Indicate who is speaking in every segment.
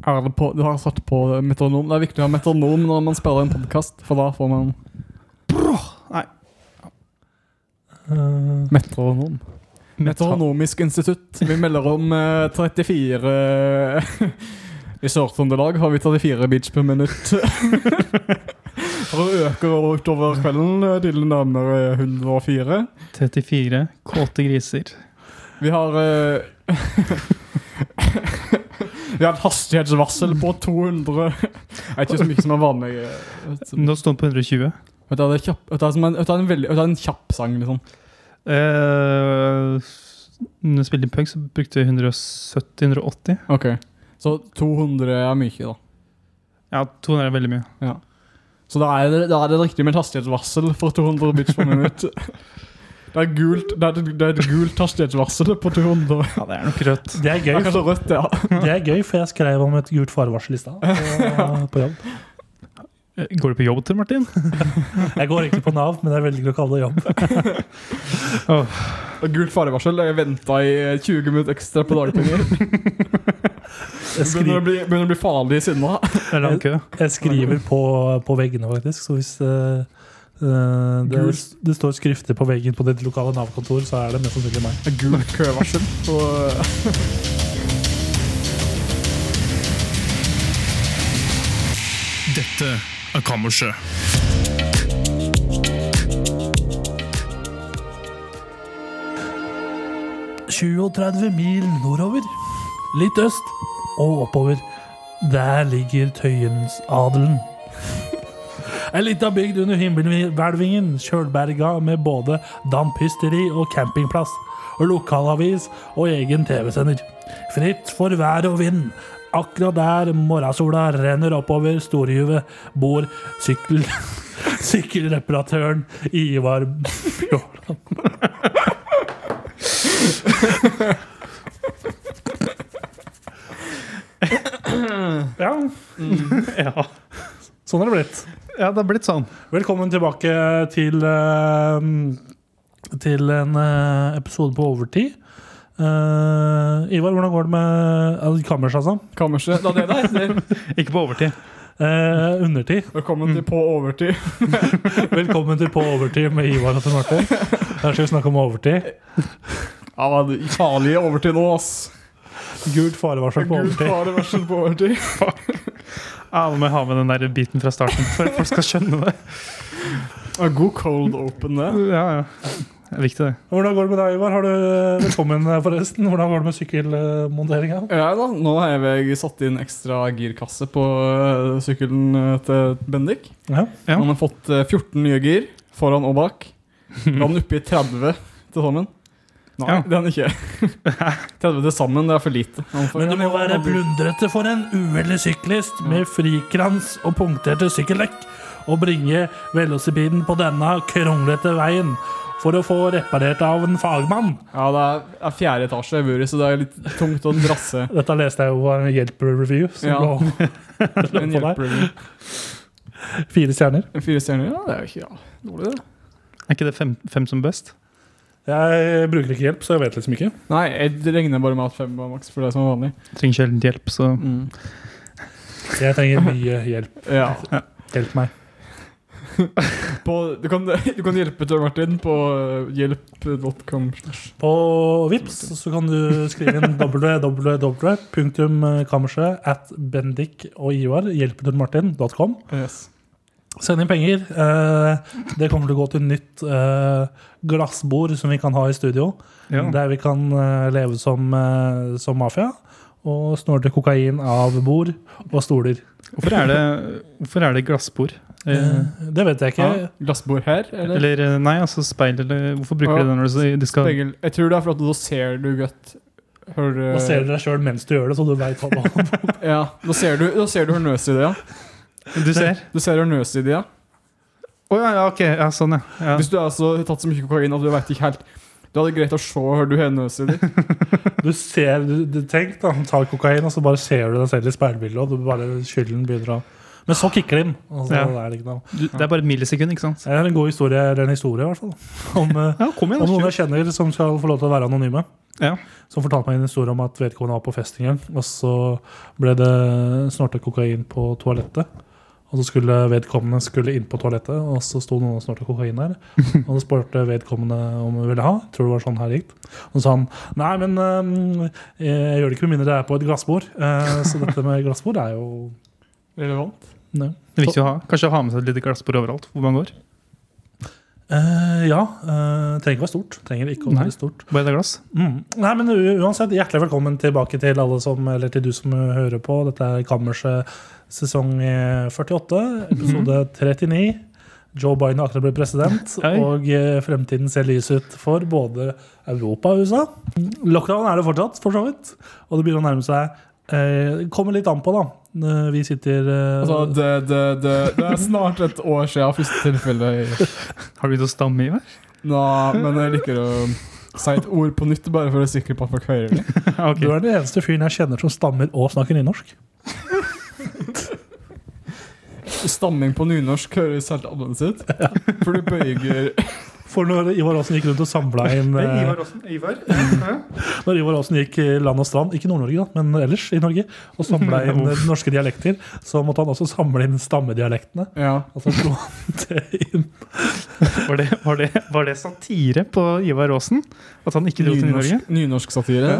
Speaker 1: er det på, du har satt på metronom. Det er viktig å ha metronom når man spiller en podkast, for da får man
Speaker 2: Nei.
Speaker 3: Eh,
Speaker 1: metronom. Metronomisk institutt. Vi melder om eh, 34 I Sør-Trøndelag har vi 34 beats per minutt. For å øke utover kvelden eh, til nærmere 104.
Speaker 2: 34 kåte griser.
Speaker 1: Vi har eh, Vi har et hastighetsvarsel på 200 Det er ikke så mye som er vanlig. eh, vet du.
Speaker 2: Nå står den på 120.
Speaker 1: Vet du, Det er, kjapp, vet du, det er, som en, vet du, det er en, veldig, vet du, det er en kjapp sang, liksom.
Speaker 2: Uh, når jeg spilte i punk, så brukte jeg 170-180.
Speaker 1: Ok Så 200 er mye, da.
Speaker 2: Ja, 200 er veldig mye.
Speaker 1: Så da er det, da er det riktig med et hastighetsvarsel for 200 bits per minutt. Det er, gult, det, er, det er et gult hastighetsvarsel på 200.
Speaker 2: Ja, det er nok rødt.
Speaker 3: Det er
Speaker 1: Det er
Speaker 3: gøy,
Speaker 1: kanskje rødt, ja.
Speaker 3: Det er gøy, for jeg skrev om et gult farevarsel i stad. eh, På jobb.
Speaker 2: Eh, Går du på jobb til, Martin?
Speaker 3: Jeg går egentlig på Nav, men jeg velger å kalle det jobb.
Speaker 1: Og Gult farevarsel. Jeg venta i eh, 20 minutter ekstra på dagpenger.
Speaker 3: Jeg
Speaker 1: Det Begynner å
Speaker 3: skriver,
Speaker 1: bli, begynner å bli farlig i sinna.
Speaker 2: Det er lang kø.
Speaker 3: jeg skriver på, på veggene, faktisk. Så hvis eh, eh, det, det står skrifter på veggen på ditt lokale Nav-kontor, så er det mest sannsynlig meg.
Speaker 1: Gult køvarsel. eh, Og
Speaker 4: Dette er Kammerset.
Speaker 3: og 37 mil nordover, litt øst og oppover. Der ligger Tøyensadelen. Ei lita bygd under himmelhvelvingen, kjølberga med både dampysteri og campingplass, og lokalavis og egen TV-sender. Fritt for vær og vind. Akkurat der morgensola renner oppover Storjuvet, bor sykkel... sykkelreparatøren Ivar Bjørland. Ja.
Speaker 1: Mm.
Speaker 2: Ja.
Speaker 3: Sånn har det blitt.
Speaker 2: ja, det har blitt sånn.
Speaker 3: Velkommen tilbake til eh, Til en eh, episode på overtid. Eh, Ivar, hvordan går det med uh, kammers, altså?
Speaker 1: kammerset. Da det der. det-
Speaker 2: Ikke på overtid.
Speaker 3: Eh, undertid.
Speaker 1: Velkommen til På overtid.
Speaker 3: Velkommen til På overtid med Ivar og Tor Martin. Her skal vi snakke om overtid.
Speaker 1: Ja, det er farlig overtid nå, ass.
Speaker 3: Gult farevarsel på
Speaker 1: Gult
Speaker 3: overtid.
Speaker 1: farevarsel på overtid.
Speaker 2: Ja, Nå må jeg ha med den der biten fra starten for at folk skal skjønne det.
Speaker 1: Ja, god cold open, det.
Speaker 2: Ja, ja. Det er viktig, det.
Speaker 3: Hvordan går det med deg, Ivar? Har du Velkommen, eh, forresten. Hvordan går det med sykkelmonteringa?
Speaker 1: Ja da, Nå har jeg satt inn ekstra girkasse på øh, sykkelen øh, til Bendik.
Speaker 3: Ja.
Speaker 2: Ja.
Speaker 1: Han har fått øh, 14 nye gir foran og bak. Da er han oppe i 30 til sammen. Nei,
Speaker 2: Mm. Ja.
Speaker 1: det er han ikke. 30 til sammen, det er for lite. Han får-
Speaker 3: Men det må
Speaker 1: han-
Speaker 3: være
Speaker 1: han-
Speaker 3: plundrete for en uheldig syklist med frikrans og punkterte sykkeldekk å bringe velocipeden på denne kronglete veien for å få reparert av en fagmann.
Speaker 1: Ja, det er, er fjerde etasje jeg bor i, så det er litt tungt å drasse.
Speaker 3: Dette leste jeg jo på en Hjelper-review, som
Speaker 1: Ja.
Speaker 3: lå
Speaker 1: En
Speaker 3: på deg.
Speaker 1: hjelpereview.
Speaker 3: Fire stjerner.
Speaker 1: Fire stjerner? Ja, det er jo ikke ja, dårlig, det.
Speaker 2: Er ikke det fem, fem som best?
Speaker 3: Jeg bruker ikke hjelp, så jeg vet liksom ikke.
Speaker 1: Nei, jeg regner bare med at fem var maks for det som er vanlig.
Speaker 2: Trenger sjelden hjelp, så
Speaker 3: Jeg trenger mye hjelp.
Speaker 1: Ja.
Speaker 3: Hjelp meg.
Speaker 1: På, du, kan, du kan hjelpe Tor Martin på eh, hjelp.com.
Speaker 3: På Vips så kan du skrive inn www.kammerset at Bendik og Ivar hjelpetunmartin.com.
Speaker 1: Yes.
Speaker 3: Send inn penger. Eh, det kommer til å gå til nytt eh, glassbord som vi kan ha i studio.
Speaker 2: ja.
Speaker 3: Der vi kan eh, leve som, eh, som mafia og snorte kokain av bord og stoler.
Speaker 2: Hvorfor er det, hvorfor er det glassbord? Eh,
Speaker 3: Eh, det vet jeg ikke.
Speaker 1: Ja, glassbord her, eller?
Speaker 2: eller eh, nei, altså speil, eller hvorfor bruker
Speaker 1: Ja.
Speaker 2: de det når du så- de skal
Speaker 1: Spegel. Jeg tror det er for at da ser du godt hvor eh,
Speaker 3: Nå ser du deg sjøl mens du gjør det, så du veit hva det er.
Speaker 1: Ja, da ser du, da ser du hvor nøs i det, ja.
Speaker 2: Du ser?
Speaker 1: Du ser hvor nøs i det, ja.
Speaker 2: Å ja, ja, ok. Ja, sånn, ja. ja.
Speaker 1: Hvis du er så tatt så mye kokain at du veit ikke helt Da er det greit å se hvor du har nøs i det.
Speaker 3: Du ser, du, du tenk da, han tar kokain, og så bare ser du deg selv i speilbildet, og du bare skylden begynner å Men så kicker det inn. og så
Speaker 2: Ja.
Speaker 3: er det, ikke noe.
Speaker 2: Du, det er bare et millisekund, ikke sant?
Speaker 3: det er en god historie, eller en historie, i hvert fall. Om, eh,
Speaker 2: Ja, kom igjen.
Speaker 3: om noen
Speaker 2: da,
Speaker 3: jeg kjenner som skal få lov til å være anonyme.
Speaker 2: kjør. Ja.
Speaker 3: som fortalte meg en historie om at vedkommende var på fest en gang, og så ble det snorta kokain på toalettet. Og så skulle vedkommende skulle inn på toalettet, og så sto noen og snorta kokain der. Og så spurte vedkommende om hun ville ha. Tror det var sånn her gikk. Og så sa han nei, men øhm, jeg gjør det ikke med mindre det er på et glassbord. Eh, så dette med glassbord er jo
Speaker 1: Relevant.
Speaker 3: Nei.
Speaker 2: Det er viktig å ha. Kanskje ha med seg et lite glassbord overalt hvor man går.
Speaker 3: Eh, ja. eh, trenger ikke være stort. Trenger ikke å
Speaker 2: Nei.
Speaker 3: være stort.
Speaker 2: Bare et glass.
Speaker 3: Mm. Nei, men u- uansett, hjertelig velkommen tilbake til alle som, eller til du som eh, hører på. Dette er Kammerset sesong eh, 48, episode 39. Joe Biden har akkurat blitt president,
Speaker 2: Hei.
Speaker 3: og eh, fremtiden ser lys ut for både Europa og USA. Lockdown er det fortsatt, for så vidt. Og det begynner å nærme seg. eh, kommer litt an på, da. Eh, vi sitter eh,
Speaker 1: Altså, det, det, det, det er snart et år siden første tilfelle. jeg-
Speaker 2: Har du begynt å stamme i meg?
Speaker 1: Nå, men jeg liker å si et ord på nytt, bare for å være sikker på at folk hører det.
Speaker 2: ok.
Speaker 3: Du er den eneste fyren jeg kjenner som stammer og snakker nynorsk.
Speaker 1: Stamming på nynorsk høres helt annerledes ut. For du bøyger
Speaker 3: For når Ivar Aasen gikk rundt og samla inn
Speaker 2: Hei,
Speaker 3: eh,
Speaker 2: Ivar Aasen. Ivar. Ja.
Speaker 3: Når Ivar Aasen gikk eh, land og strand, ikke Nord-Norge, da, men ellers i Norge, og samla inn eh, norske dialekter, så måtte han også samle inn stammedialektene.
Speaker 1: Ja.
Speaker 3: Og så slo han det inn.
Speaker 2: Var, det, var, det, var det satire på Ivar Aasen? At han ikke dro til Norge?
Speaker 1: Nynorsk, nynorsk satire.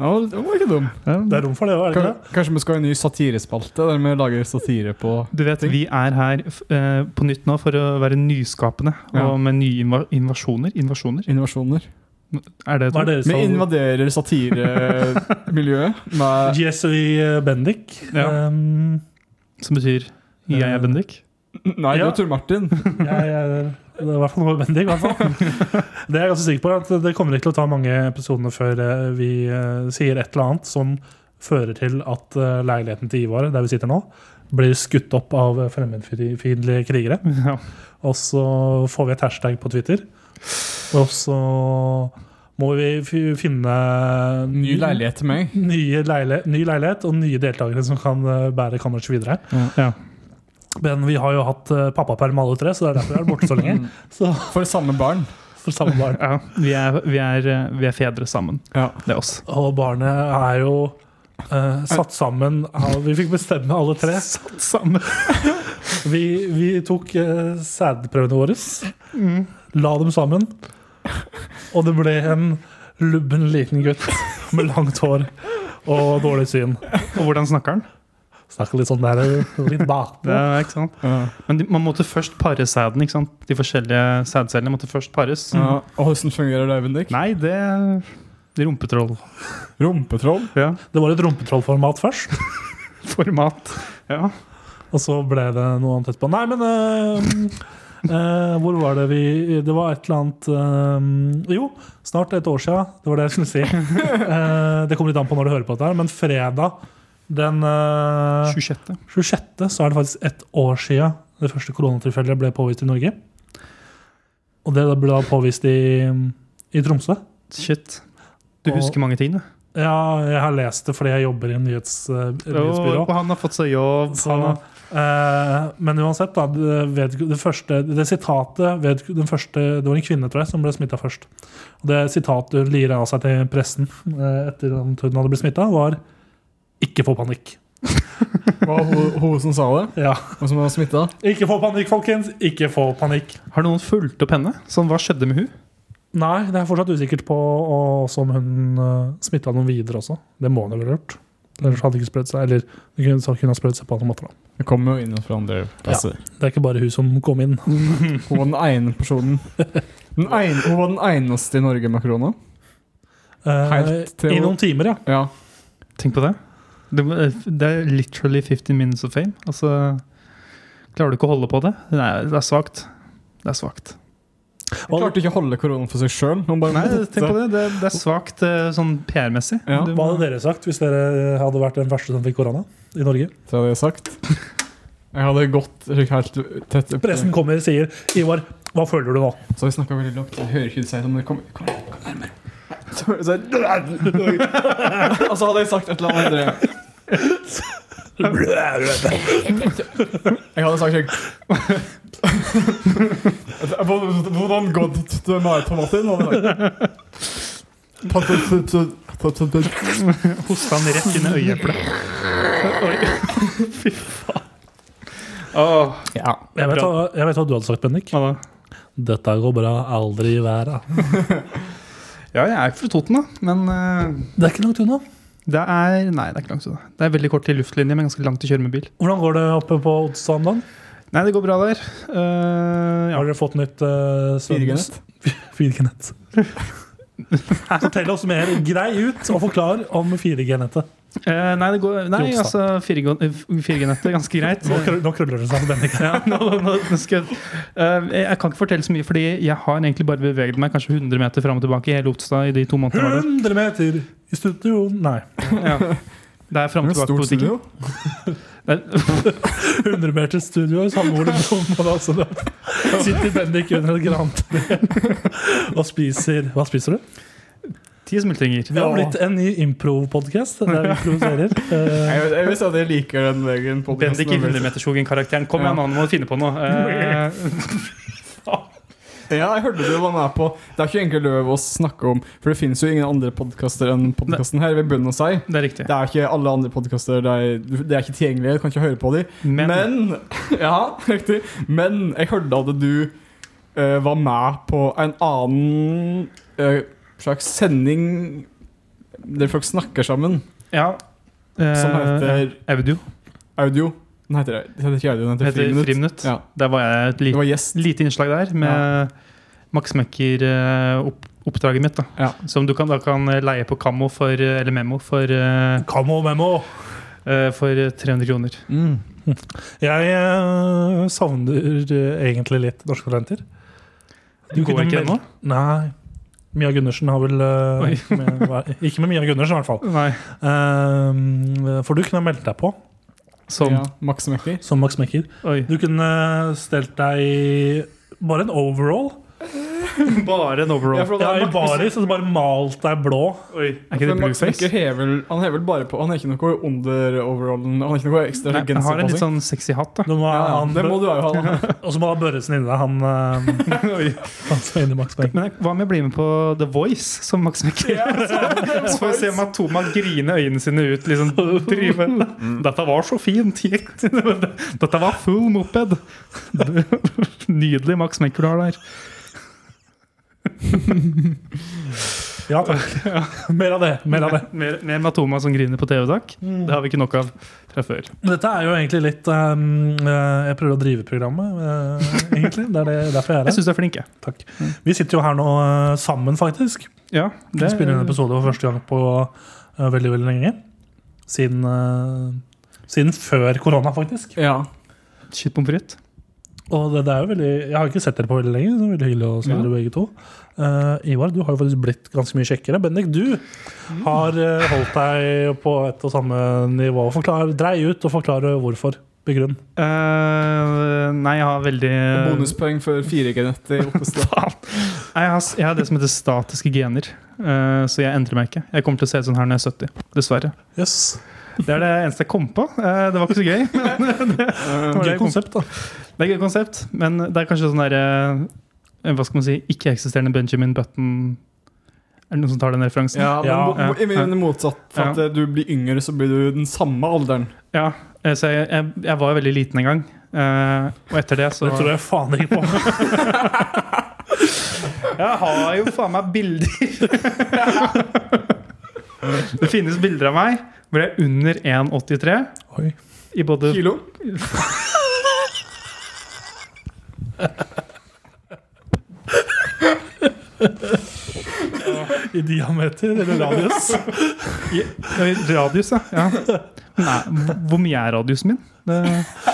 Speaker 1: Ja, det var ikke dum.
Speaker 3: Det er rom for det òg, er det ikke det?
Speaker 1: Kan- Kanskje vi skal ha en ny satirespalte der vi lager satire på
Speaker 2: Du vet, Vi er her f- eh, på nytt nå for å være nyskapende
Speaker 1: Ja.
Speaker 2: og med nye inva invasjoner. Invasjoner?
Speaker 1: innovasjoner.
Speaker 2: Er det et
Speaker 3: Hva er
Speaker 2: ord?
Speaker 3: deres
Speaker 1: Vi
Speaker 3: favoritt?
Speaker 1: invaderer satiremiljøet med
Speaker 3: GSI eh, Bendik.
Speaker 2: Ja.
Speaker 3: Um,
Speaker 2: som betyr 'jeg er Bendik'?
Speaker 1: Nei, det
Speaker 3: Ja.
Speaker 1: var Tor Martin.
Speaker 3: jeg, jeg, det er i hvert fall noe Bendik. i hvert fall. Det er jeg ganske sikker på, er at det kommer ikke til å ta mange episodene før eh, vi eh, sier et eller annet som fører til at eh, leiligheten til Ivar, der vi sitter nå, blir skutt opp av eh, fremmedfiendtlige krigere.
Speaker 2: Ja.
Speaker 3: Og så får vi et hashtag på Twitter. Og så må vi fi- finne
Speaker 1: Ny leilighet til meg.
Speaker 3: Nye leile, ny leilighet og nye deltakere som kan eh, bære kammerset videre.
Speaker 2: Ja.
Speaker 3: Men vi har jo hatt eh, pappaperm alle tre, så det er derfor jeg er borte så lenge. Så
Speaker 1: For samme barn.
Speaker 3: for samme barn.
Speaker 2: Ja, vi, er, vi, er, eh, vi er fedre sammen.
Speaker 1: Ja.
Speaker 2: Det er oss.
Speaker 3: Og barnet er jo eh, satt sammen av Vi fikk bestemme alle tre.
Speaker 2: Satt sammen.
Speaker 3: Vi, vi tok uh, sædprøvene våre, la dem sammen, og det ble en lubben liten gutt med langt hår og dårlig syn.
Speaker 2: Og hvordan snakker han?
Speaker 3: Snakker litt sånn der eh, litt
Speaker 2: Det
Speaker 3: bakpå.
Speaker 2: er, ikke sant?
Speaker 1: Ja.
Speaker 2: Men de, man måtte først pare sæden. ikke sant? De forskjellige sædcellene måtte først pares.
Speaker 1: Ja. Og hvordan fungerer det, Bendik?
Speaker 2: Nei, det er rumpetroll.
Speaker 1: Rumpetroll?
Speaker 2: Ja.
Speaker 3: Det var et rumpetrollformat først,
Speaker 2: Format. Ja.
Speaker 3: og så ble det noe annet etterpå. Nei, men eh, eh, hvor var det vi Det var et eller annet eh, Jo, snart et år sia. Det var det jeg skulle si. Eh, det kommer litt an på når du hører på dette, her, men fredag den eh,
Speaker 2: 26.
Speaker 3: 26. så er det faktisk ett år siden det første koronatilfellet ble påvist i Norge. Og det ble da påvist i, i Tromsø.
Speaker 2: Shit. Du
Speaker 3: Og-
Speaker 2: husker mange ting, du.
Speaker 3: Ja, jeg har lest det fordi jeg jobber i en nyhets, eh, nyhetsbyrå.
Speaker 2: Og han har fått seg jobb.
Speaker 3: Så,
Speaker 2: han har-
Speaker 3: eh, men uansett, da. Det, ved, det, første, det sitatet ved, den første, Det var en kvinne, tror jeg, som ble smitta først. Og det sitatet lirer av seg til pressen eh, etter at hun hadde blitt smitta, var 'ikke få panikk'.
Speaker 1: Var hun hun som sa det?
Speaker 3: Ja.
Speaker 1: Og som var smitta?
Speaker 3: Ikke få panikk, folkens! Ikke få panikk.
Speaker 2: Har noen fulgt opp henne? Sånn, Hva skjedde med hun?
Speaker 3: Nei, det er fortsatt usikkert på og også om hun uh, smitta noen videre også. Det må hun vel ha gjort. Ellers hadde det ikke spredt seg. Eller det kunne, så kunne ha spredt seg på andre måter. Da.
Speaker 1: Det kommer jo inn fra andre plasser.
Speaker 3: Det er ikke bare hun som kom inn.
Speaker 1: Hun var den ene personen. Den ene, hun var den eneste i Norge med korona.
Speaker 3: Eh,
Speaker 1: Helt til-
Speaker 3: I noen timer, ja.
Speaker 1: Ja.
Speaker 2: Tenk på det. Det, må- eh, det er literally 15 minutes of fame. Altså, klarer du ikke å holde på det? Nei, det er svakt. Det er svakt.
Speaker 1: Hun klarte ikke å holde koronaen for seg sjøl. Hun bare
Speaker 2: Nei, tenk på det. Det, det er svakt eh, sånn PR-messig.
Speaker 1: Ja.
Speaker 2: Du
Speaker 3: Hva
Speaker 2: må-
Speaker 3: hadde dere sagt hvis dere hadde vært den første som fikk korona i Norge?
Speaker 1: Det hadde jeg sagt. Jeg hadde gått slik helt tett opp.
Speaker 3: Pressen kommer og sier Ivar, hva føler du nå?
Speaker 1: Så vi snakka veldig lavt. Jeg hører ikke det sier men kom, kom, kom nærmere. Så, så, og så hadde jeg sagt et eller annet. Jeg hadde sagt sånn, slik Hvordan gått det med Tom Martin? hadde jeg sagt.
Speaker 2: Hosta han rett inn i øyeeplet. Oi. Fy faen. Åh,
Speaker 1: Ja.
Speaker 3: Jeg vet, hva, jeg vet hva du hadde sagt, Bendik.
Speaker 2: hva da?
Speaker 3: Dette går bra. Aldri i været.
Speaker 2: Ja, jeg er fra Toten, da. Men eh,
Speaker 3: Det er ikke langt unna.
Speaker 2: det er Nei, det er ikke langt unna. Det er veldig kort til luftlinje, men ganske langt til å kjøre med bil.
Speaker 3: Hvordan går det oppe på Odsa om dagen?
Speaker 2: Nei, det går bra der. Eh, ja.
Speaker 3: Har dere fått nytt uh,
Speaker 1: 4G-nett.
Speaker 3: 4G-nett? Fortell oss mer. Grei ut og forklar om 4G-nettet.
Speaker 2: Eh, nei, det går, nei
Speaker 3: Jobstad.
Speaker 2: altså 4G-nettet er ganske greit.
Speaker 3: Nå krø- nå krøller det seg for Bendik.
Speaker 2: ja, nå, nå, nå skal jeg, Eh, jeg jeg kan ikke fortelle så mye, fordi jeg har egentlig bare beveget meg kanskje 100 meter fram og tilbake i hele Oppstad i de to månedene. jeg
Speaker 3: 100 meter i studio Nei.
Speaker 2: var der. Ja. Det er fram og
Speaker 1: Det er
Speaker 2: tilbake på
Speaker 1: stort
Speaker 2: butikken.
Speaker 1: studio.
Speaker 2: Det er-
Speaker 3: 100 meter studio i samme hvor det bommer. Altså, da sitter Bendik under et grantre og spiser Hva spiser du?
Speaker 2: Ti smultringer.
Speaker 3: Vi har blitt en ny improv-podkast der vi improviserer. Eh,
Speaker 1: Jeg, jeg visste at jeg liker den veien.
Speaker 2: Bendik i 100-meterskogen-karakteren. Kom igjen,
Speaker 1: Ja.
Speaker 2: nå må du finne på noe. Eh,
Speaker 1: Ja, jeg hørte du var med på Det er ikke egentlig lov å snakke om, for det finnes jo ingen andre podkaster enn podkasten her. ved bunnen å si.
Speaker 2: det er riktig.
Speaker 1: Det er ikke alle andre podkaster. Det, er- det er ikke tilgjengelig. Du kan ikke høre på dem.
Speaker 2: Men,
Speaker 1: Men Ja, riktig. Men jeg hørte at du eh, var med på en annen eh, slags sending der folk snakker sammen.
Speaker 2: ja eh,
Speaker 1: Som heter
Speaker 2: Audio.
Speaker 1: Audio. Den heter det. Det heter ikke audio, den
Speaker 2: Det
Speaker 1: heter,
Speaker 2: heter
Speaker 1: Friminutt.
Speaker 2: Friminutt.
Speaker 1: Ja.
Speaker 2: Der var jeg et
Speaker 1: Det
Speaker 2: lite,
Speaker 1: var gjest.
Speaker 2: lite innslag der med Max Mekker eh, opp, oppdraget mitt, da.
Speaker 1: Ja.
Speaker 2: Som du kan, da kan leie på Kammo for, eh, eller Memo for eh,
Speaker 3: Kamo memo!
Speaker 2: Eh, For 300 kroner.
Speaker 3: Jeg eh, savner eh, egentlig litt norske talenter.
Speaker 2: Du går
Speaker 3: kunne
Speaker 2: ikke ennå?
Speaker 3: mel- Nei. Mia Gundersen har vel eh,
Speaker 2: Oi.
Speaker 3: med, hva- Ikke med Mia Gundersen, i hvert fall.
Speaker 2: Nei.
Speaker 3: Eh, for du kunne meldt deg på
Speaker 2: Sånn.
Speaker 1: Ja, Max Mekker.
Speaker 3: som Max Mekker.
Speaker 2: Oi.
Speaker 3: Du kunne stelt deg i bare en overall.
Speaker 2: Bare en overall.
Speaker 1: for
Speaker 3: Ja, I baris, og så bare malt deg blå.
Speaker 2: Oi. Er ikke det
Speaker 1: for Altså, Max Mekker
Speaker 2: blueface?
Speaker 1: hever, han hever bare på Han er ikke noe under overallen. Han er ikke noe ekstra
Speaker 2: Nei, jeg har en litt
Speaker 1: genserpassing.
Speaker 2: sånn sexy hatt, da.
Speaker 3: Du må,
Speaker 1: Ja,
Speaker 3: ha
Speaker 1: ja,
Speaker 3: han,
Speaker 1: det må du jo ha. da.
Speaker 3: Og så må du ha Børresen inni deg, han, eh,
Speaker 2: Oi.
Speaker 3: han som er inni Max Mekker.
Speaker 2: Men jeg- hva om jeg blir med på The Voice som Max Mekker? så får vi se Matoma grine øynene sine ut. liksom drive. Dette var så fint. Dette var full moped. Nydelig Max Mekker du har der.
Speaker 3: Ja, takk. Mer av det. Mer av det.
Speaker 2: Mer, mer Matoma som griner på TV, takk. Det har vi ikke nok av fra før.
Speaker 3: Dette er jo egentlig litt ehm, eh, Jeg prøver å drive programmet, eh, egentlig. Det er det, derfor jeg
Speaker 2: Jeg
Speaker 3: er her.
Speaker 2: syns du er flink, jeg.
Speaker 3: Takk. Vi sitter jo her nå eh, sammen, faktisk.
Speaker 2: Ja,
Speaker 3: Vi spiller inn en episode for første gang på eh, veldig, veldig lenge. Siden, eh, siden før korona, faktisk.
Speaker 1: Ja.
Speaker 2: Shit pommes frites.
Speaker 3: Og det, det er jo veldig Jeg har ikke sett dere på veldig lenge, så det er veldig hyggelig å se
Speaker 2: Ja.
Speaker 3: dere begge to. Eh, Ivar, du har jo faktisk blitt ganske mye kjekkere. Bendik, du har eh, holdt deg på et og samme nivå. Forklar, drei ut og forklare hvorfor. Begrunn.
Speaker 2: Eh, nei, jeg har veldig
Speaker 1: Bonuspoeng for 4G-nett i Oppestad.
Speaker 2: Faen. Nei, Jeg har, jeg har det som heter statiske gener, eh, så jeg endrer meg ikke. Jeg kommer til å se ut sånn her når jeg er 70. Dessverre.
Speaker 3: Yes.
Speaker 2: Det er det eneste jeg kom på. Eh, det var ikke så gøy.
Speaker 1: Eh,
Speaker 2: det
Speaker 3: Gøy
Speaker 2: kom-
Speaker 3: konsept, da.
Speaker 2: Det er et gøy konsept, men det er kanskje sånn derre Hva skal man si Ikke-eksisterende Benjamin Button Er det noen som tar den referansen?
Speaker 1: Ja, men
Speaker 3: Ja,
Speaker 1: bo-
Speaker 2: ja,
Speaker 1: bo- i min motsatt. For at eh, du blir yngre, så blir du den samme alderen.
Speaker 2: Ja, eh, så jeg, jeg, jeg var veldig liten en gang. eh, og etter det så
Speaker 3: Det tror jeg faen ikke på.
Speaker 2: Jeg har jo faen meg bilder. det finnes bilder av meg hvor jeg er under 1,83
Speaker 3: Oi.
Speaker 2: i både
Speaker 1: Kilo?
Speaker 3: I diameter eller radius.
Speaker 2: i, i radius, ja. ja. Nei, hvor- hvor mye er radiusen min? Det,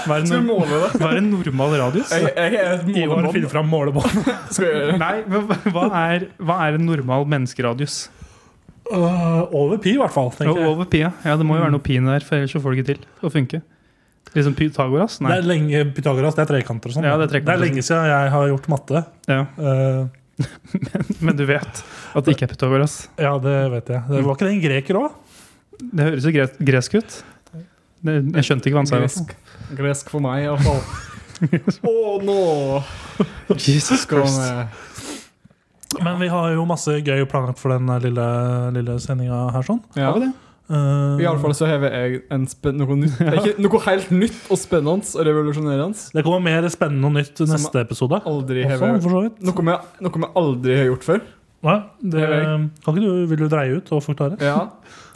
Speaker 2: hva,
Speaker 1: Skal
Speaker 2: er en,
Speaker 1: vi måle det?
Speaker 2: hva er en normal radius?
Speaker 1: Jeg, jeg er et
Speaker 3: Ivar
Speaker 1: målebånd.
Speaker 3: finner fram målebånd.
Speaker 1: Skal vi gjøre det?
Speaker 2: Nei, men hva er, hva er en normal menneskeradius?
Speaker 3: Øh, over pi, i hvert fall.
Speaker 2: Og
Speaker 3: tenker jeg. Mm.
Speaker 2: Over pi, ja. ja. Det må jo være noe pi der, for ellers så får det ikke til å funke. Liksom Pythagoras?
Speaker 3: Det
Speaker 2: Nei.
Speaker 3: er lenge, Pythagoras, det er trekanter og sånn.
Speaker 2: Ja, det er trekanter.
Speaker 3: lenge siden jeg har gjort matte.
Speaker 2: Ja.
Speaker 3: Øh,
Speaker 2: Men du vet at det ikke er Pythagoras.
Speaker 3: ja, det vet jeg.
Speaker 2: Mm.
Speaker 3: Det var ikke det en greker òg?
Speaker 2: Det høres jo gres gresk ut. Det, jeg skjønte ikke hva han sa. i hvert fall.
Speaker 1: Gresk. Gresk for meg, i hvert fall. Å, nå
Speaker 2: Jesus
Speaker 1: skal
Speaker 2: Christ.
Speaker 1: vi
Speaker 3: Men vi har jo masse gøy planlagt for den eh, lille, lille sendinga her. sånn
Speaker 1: Ja.
Speaker 2: Har vi det?
Speaker 3: Eh,
Speaker 1: Iallfall så hever jeg en spen- noe, nytt. Det er ikke noe helt nytt og spennende og revolusjonerende.
Speaker 3: Eh, Det kommer mer spennende og nytt i
Speaker 1: Som-
Speaker 3: neste episode.
Speaker 1: Aldri
Speaker 3: Også,
Speaker 1: hever
Speaker 3: for så vidt
Speaker 1: noe vi, noe vi aldri har gjort før.
Speaker 3: ja, det,
Speaker 1: Det er
Speaker 3: kan ikke du, Vil du dreie ut og forklare?
Speaker 1: Ja,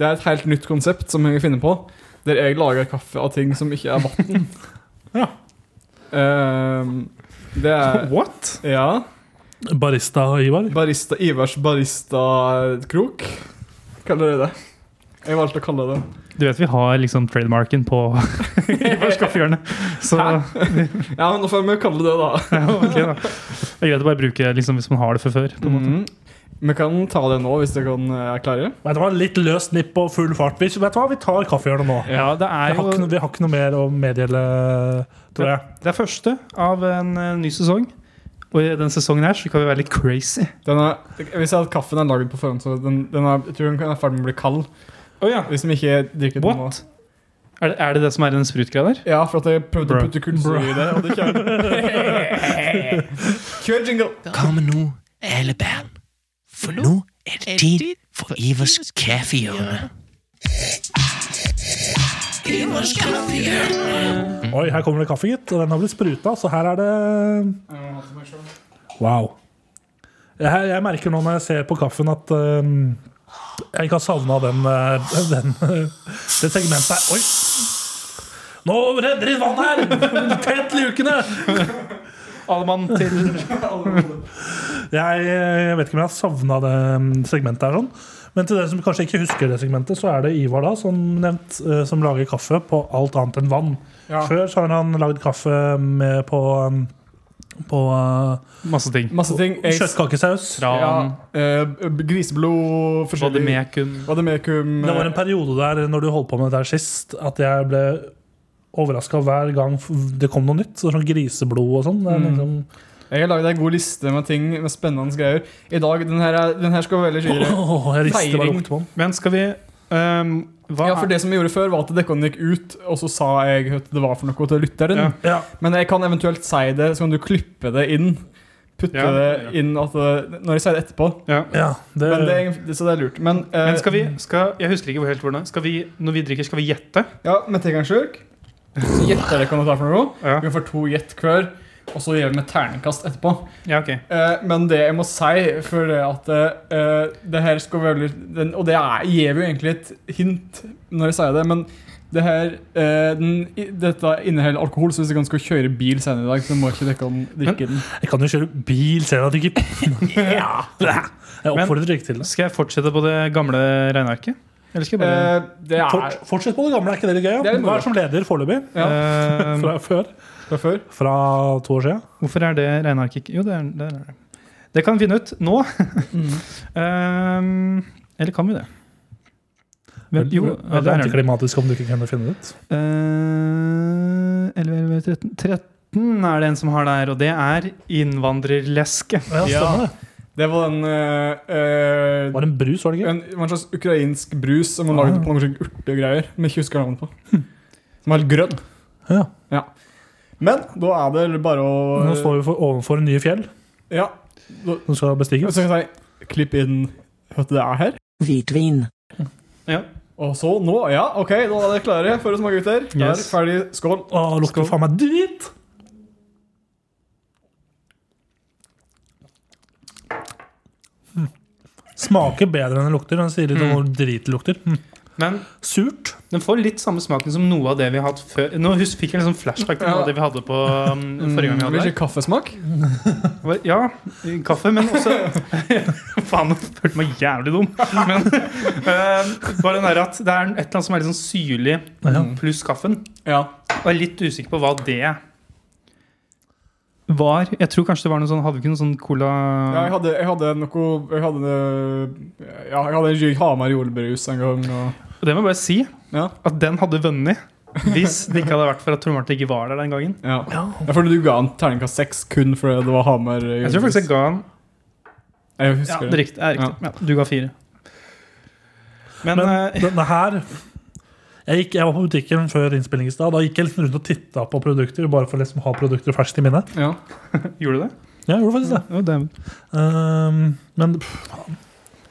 Speaker 1: Det er et helt nytt konsept som jeg finner på, der jeg lager kaffe av ting som ikke er vann.
Speaker 2: Ja.
Speaker 1: Ehm, det er
Speaker 2: What?
Speaker 1: Ja.
Speaker 3: Barista Ivar?
Speaker 1: Barista Ivers baristakrok. Kaller de det. Jeg valgte å kalle det
Speaker 2: Du vet vi har liksom trademarken på Ivars kaffehjørne. Så ja,
Speaker 1: Ja, men nå får vi kalle det det, da.
Speaker 2: ok da. Det er greit å bare bruke liksom, hvis man har det fra før. På en måte.
Speaker 1: Mhm. Vi kan ta det nå, hvis dere kan eh, er klare.
Speaker 3: Vet du hva, Litt løst nipp og full fart. Vi, vet du hva, vi tar kaffehjørnet nå.
Speaker 2: Mm. Ja, det
Speaker 3: Vi
Speaker 2: er
Speaker 3: har, ikke,
Speaker 2: jo
Speaker 3: no- vi har ikke noe mer å meddele, tror jeg.
Speaker 2: Det er første av en eh, ny sesong. Og i den sesongen her så kan vi være litt crazy.
Speaker 1: Den er, jeg vil si at Kaffen er laget på forhånd, så den, den er, jeg tror den kan- er ferdig med å bli kald.
Speaker 2: Oh, ja.
Speaker 1: Hvis vi ikke drikker den nå.
Speaker 2: What? Er det, er det det som er den sprutgreia der?
Speaker 1: Ja, for at jeg prøvde
Speaker 2: Bra.
Speaker 1: å putte kullsyre i det, og det kjører. Kjør jingle!
Speaker 4: Kom nu, alle børn. For nu er det tid for Ivers kaffehjørne. Ivers kaffehjørne.
Speaker 3: Oi, her kommer det kaffe, gitt. Og den har blitt spruta, så her er det Wow. Jeg, jeg merker nå når jeg ser på kaffen, at øhm, jeg ikke har savna den, øh, den øh, det segmentet her. Oi! Nå renner det inn vann her! Tett lukene!
Speaker 2: Alle mann til
Speaker 3: Jeg, jeg vet ikke om jeg har savna det øhm, segmentet her. sånn. Men til dere som kanskje ikke husker det segmentet, så er det Ivar da, som nevnt, øh, som lager kaffe på alt annet enn vann.
Speaker 1: Ja.
Speaker 3: Før så har han lagd kaffe med på, øhm, på øh,
Speaker 2: masse ting.
Speaker 1: Masse ting. Jeg,
Speaker 3: kjøttkakesaus.
Speaker 1: ja,
Speaker 2: Tran,
Speaker 1: eh, griseblod, forskjellig
Speaker 2: vademekum
Speaker 1: Vademekum.
Speaker 3: Det var en periode der når du holdt på med det der sist, at jeg ble overraska hver gang f- det kom noe nytt. Sånn griseblod og sånn. Det
Speaker 1: Mm.
Speaker 3: er Liksom,
Speaker 1: Jeg har laget en god liste med ting med spennende greier. I dag, Den her, er- den her skal være veldig kjølig.
Speaker 3: Åh, jeg rister bare
Speaker 1: Feiring.
Speaker 3: lukter på den.
Speaker 2: Men skal vi ehm, Hva
Speaker 1: Ja, for Det som jeg gjorde før, var at dekkene gikk ut, og så sa jeg at det var for noe til lytteren.
Speaker 2: Ja.
Speaker 3: Ja.
Speaker 1: Men jeg kan eventuelt si det, så kan du klippe det inn. Putte
Speaker 2: Ja, ja.
Speaker 1: det inn at det, når jeg sier det etterpå.
Speaker 2: er ja.
Speaker 3: Ja, det,
Speaker 1: Men det, er egentlig- så det er lurt. Men, eh,
Speaker 2: Men skal vi skal, Jeg husker ikke hvor helt hvordan. Skal vi, når vi drikker, skal vi gjette?
Speaker 1: Ja, med Tegan Sjurk. Så gjetter dere hva det er for noe.
Speaker 2: Ja,
Speaker 1: Vi får to gjett hver, og så gjør vi et terningkast etterpå.
Speaker 2: ja ok.
Speaker 1: Eh, men det jeg må si, for det at eh, det her skal være litt den, Og det er, gir jo egentlig et hint når jeg sier det, men det her, eh, den, i- dette inneholder alkohol, så hvis dere skal kjøre bil senere i dag, så må ikke dere om drikke den.
Speaker 3: jeg kan jo kjøre bil, ser du at jeg ikke ja. Jeg oppfordrer ikke til det.
Speaker 2: Skal jeg fortsette på det gamle regnearket? Eller skal jeg bare
Speaker 1: Eh, det er
Speaker 3: Fort, fortsett på det gamle, er ikke det litt gøy?
Speaker 1: Det er litt Um,
Speaker 3: Hva
Speaker 1: moro.
Speaker 3: er som leder foreløpig?
Speaker 1: ja,
Speaker 2: Ehm,
Speaker 3: Fra før?
Speaker 1: fra før.
Speaker 3: Fra to år siden?
Speaker 2: Hvorfor er det regnearket ikke Jo, det er det. Er det. det kan vi finne ut nå. Ehm, eller kan vi det? Vel, jo, ja,
Speaker 3: det
Speaker 2: der
Speaker 3: er
Speaker 2: er det.
Speaker 3: antiklimatisk om du ikke kan finne det ut.
Speaker 2: Uh, 11, 11, 13 13 er det en som har der, og det er innvandrerleske.
Speaker 3: Ja, stemmer det.
Speaker 1: Det var den eh, eh,
Speaker 3: Var det en brus, var det Ah. ikke?
Speaker 1: En, det var en slags ukrainsk brus som man lagde på noen slags urtegreier. Som jeg ikke husker navnet på. Som er helt grønn.
Speaker 3: Ja.
Speaker 1: Men da er det bare å
Speaker 3: Nå står vi for, overfor nye fjell
Speaker 1: Ja.
Speaker 3: som skal bestiges.
Speaker 1: Så kan jeg si klipp inn hva det er her.
Speaker 4: Hvitvin.
Speaker 2: Ja.
Speaker 1: Og så nå, ja, ok, nå er dere klare for å smake, gutter. Der,
Speaker 2: Yes.
Speaker 1: ferdig, skål.
Speaker 3: Å, lukter
Speaker 2: Skål.
Speaker 3: faen meg dritt! Mm. Smaker bedre enn det lukter. Den sier
Speaker 2: Hmm.
Speaker 3: litt om hvor drit det lukter. Mm.
Speaker 2: Men
Speaker 3: Surt.
Speaker 2: den får litt samme smaken som noe av det vi har hatt før. Nå hus- fikk jeg liksom flashback til noe av det vi hadde på
Speaker 1: Mm,
Speaker 2: um, forrige gang vi hadde
Speaker 1: Vil
Speaker 2: det.
Speaker 1: ikke kaffesmak?
Speaker 2: Hva- Ja, kaffe, men også Faen, jeg følte meg jævlig dum. Men eh, bare den der at det er et eller annet som er litt sånn syrlig
Speaker 3: Ja.
Speaker 2: pluss kaffen.
Speaker 1: Ja.
Speaker 2: Og jeg er litt usikker på hva det var. Jeg tror kanskje det var noe sånn Hadde vi ikke noe sånn cola
Speaker 1: ja jeg, hadde, jeg hadde noe Jeg hadde Ja, jeg hadde en Jyg Hamar jordbrus en gang. Og,
Speaker 2: Og det må jeg bare si
Speaker 1: ja.
Speaker 2: at den hadde vunnet. Hvis det ikke hadde vært for at Tor Martin ikke var der den gangen.
Speaker 1: Ja. Jeg føler du ga en terningkast seks kun fordi det var Hamar jordbrus.
Speaker 2: Jeg tror faktisk jeg ga han
Speaker 1: Jeg
Speaker 2: Ja,
Speaker 1: husker
Speaker 2: det er riktig. Det er riktig. Ja. du ga fire. Men,
Speaker 3: Men
Speaker 2: eh,
Speaker 3: denne her jeg, gikk, jeg var på butikken før innspilling i stad. Da gikk jeg liksom rundt og titta på produkter. Bare for å liksom ha produkter ferskt i minnet.
Speaker 1: Ja.
Speaker 2: gjorde du det?
Speaker 3: Ja, jeg gjorde faktisk det.
Speaker 2: Ja, det-
Speaker 3: Ehm, men pff,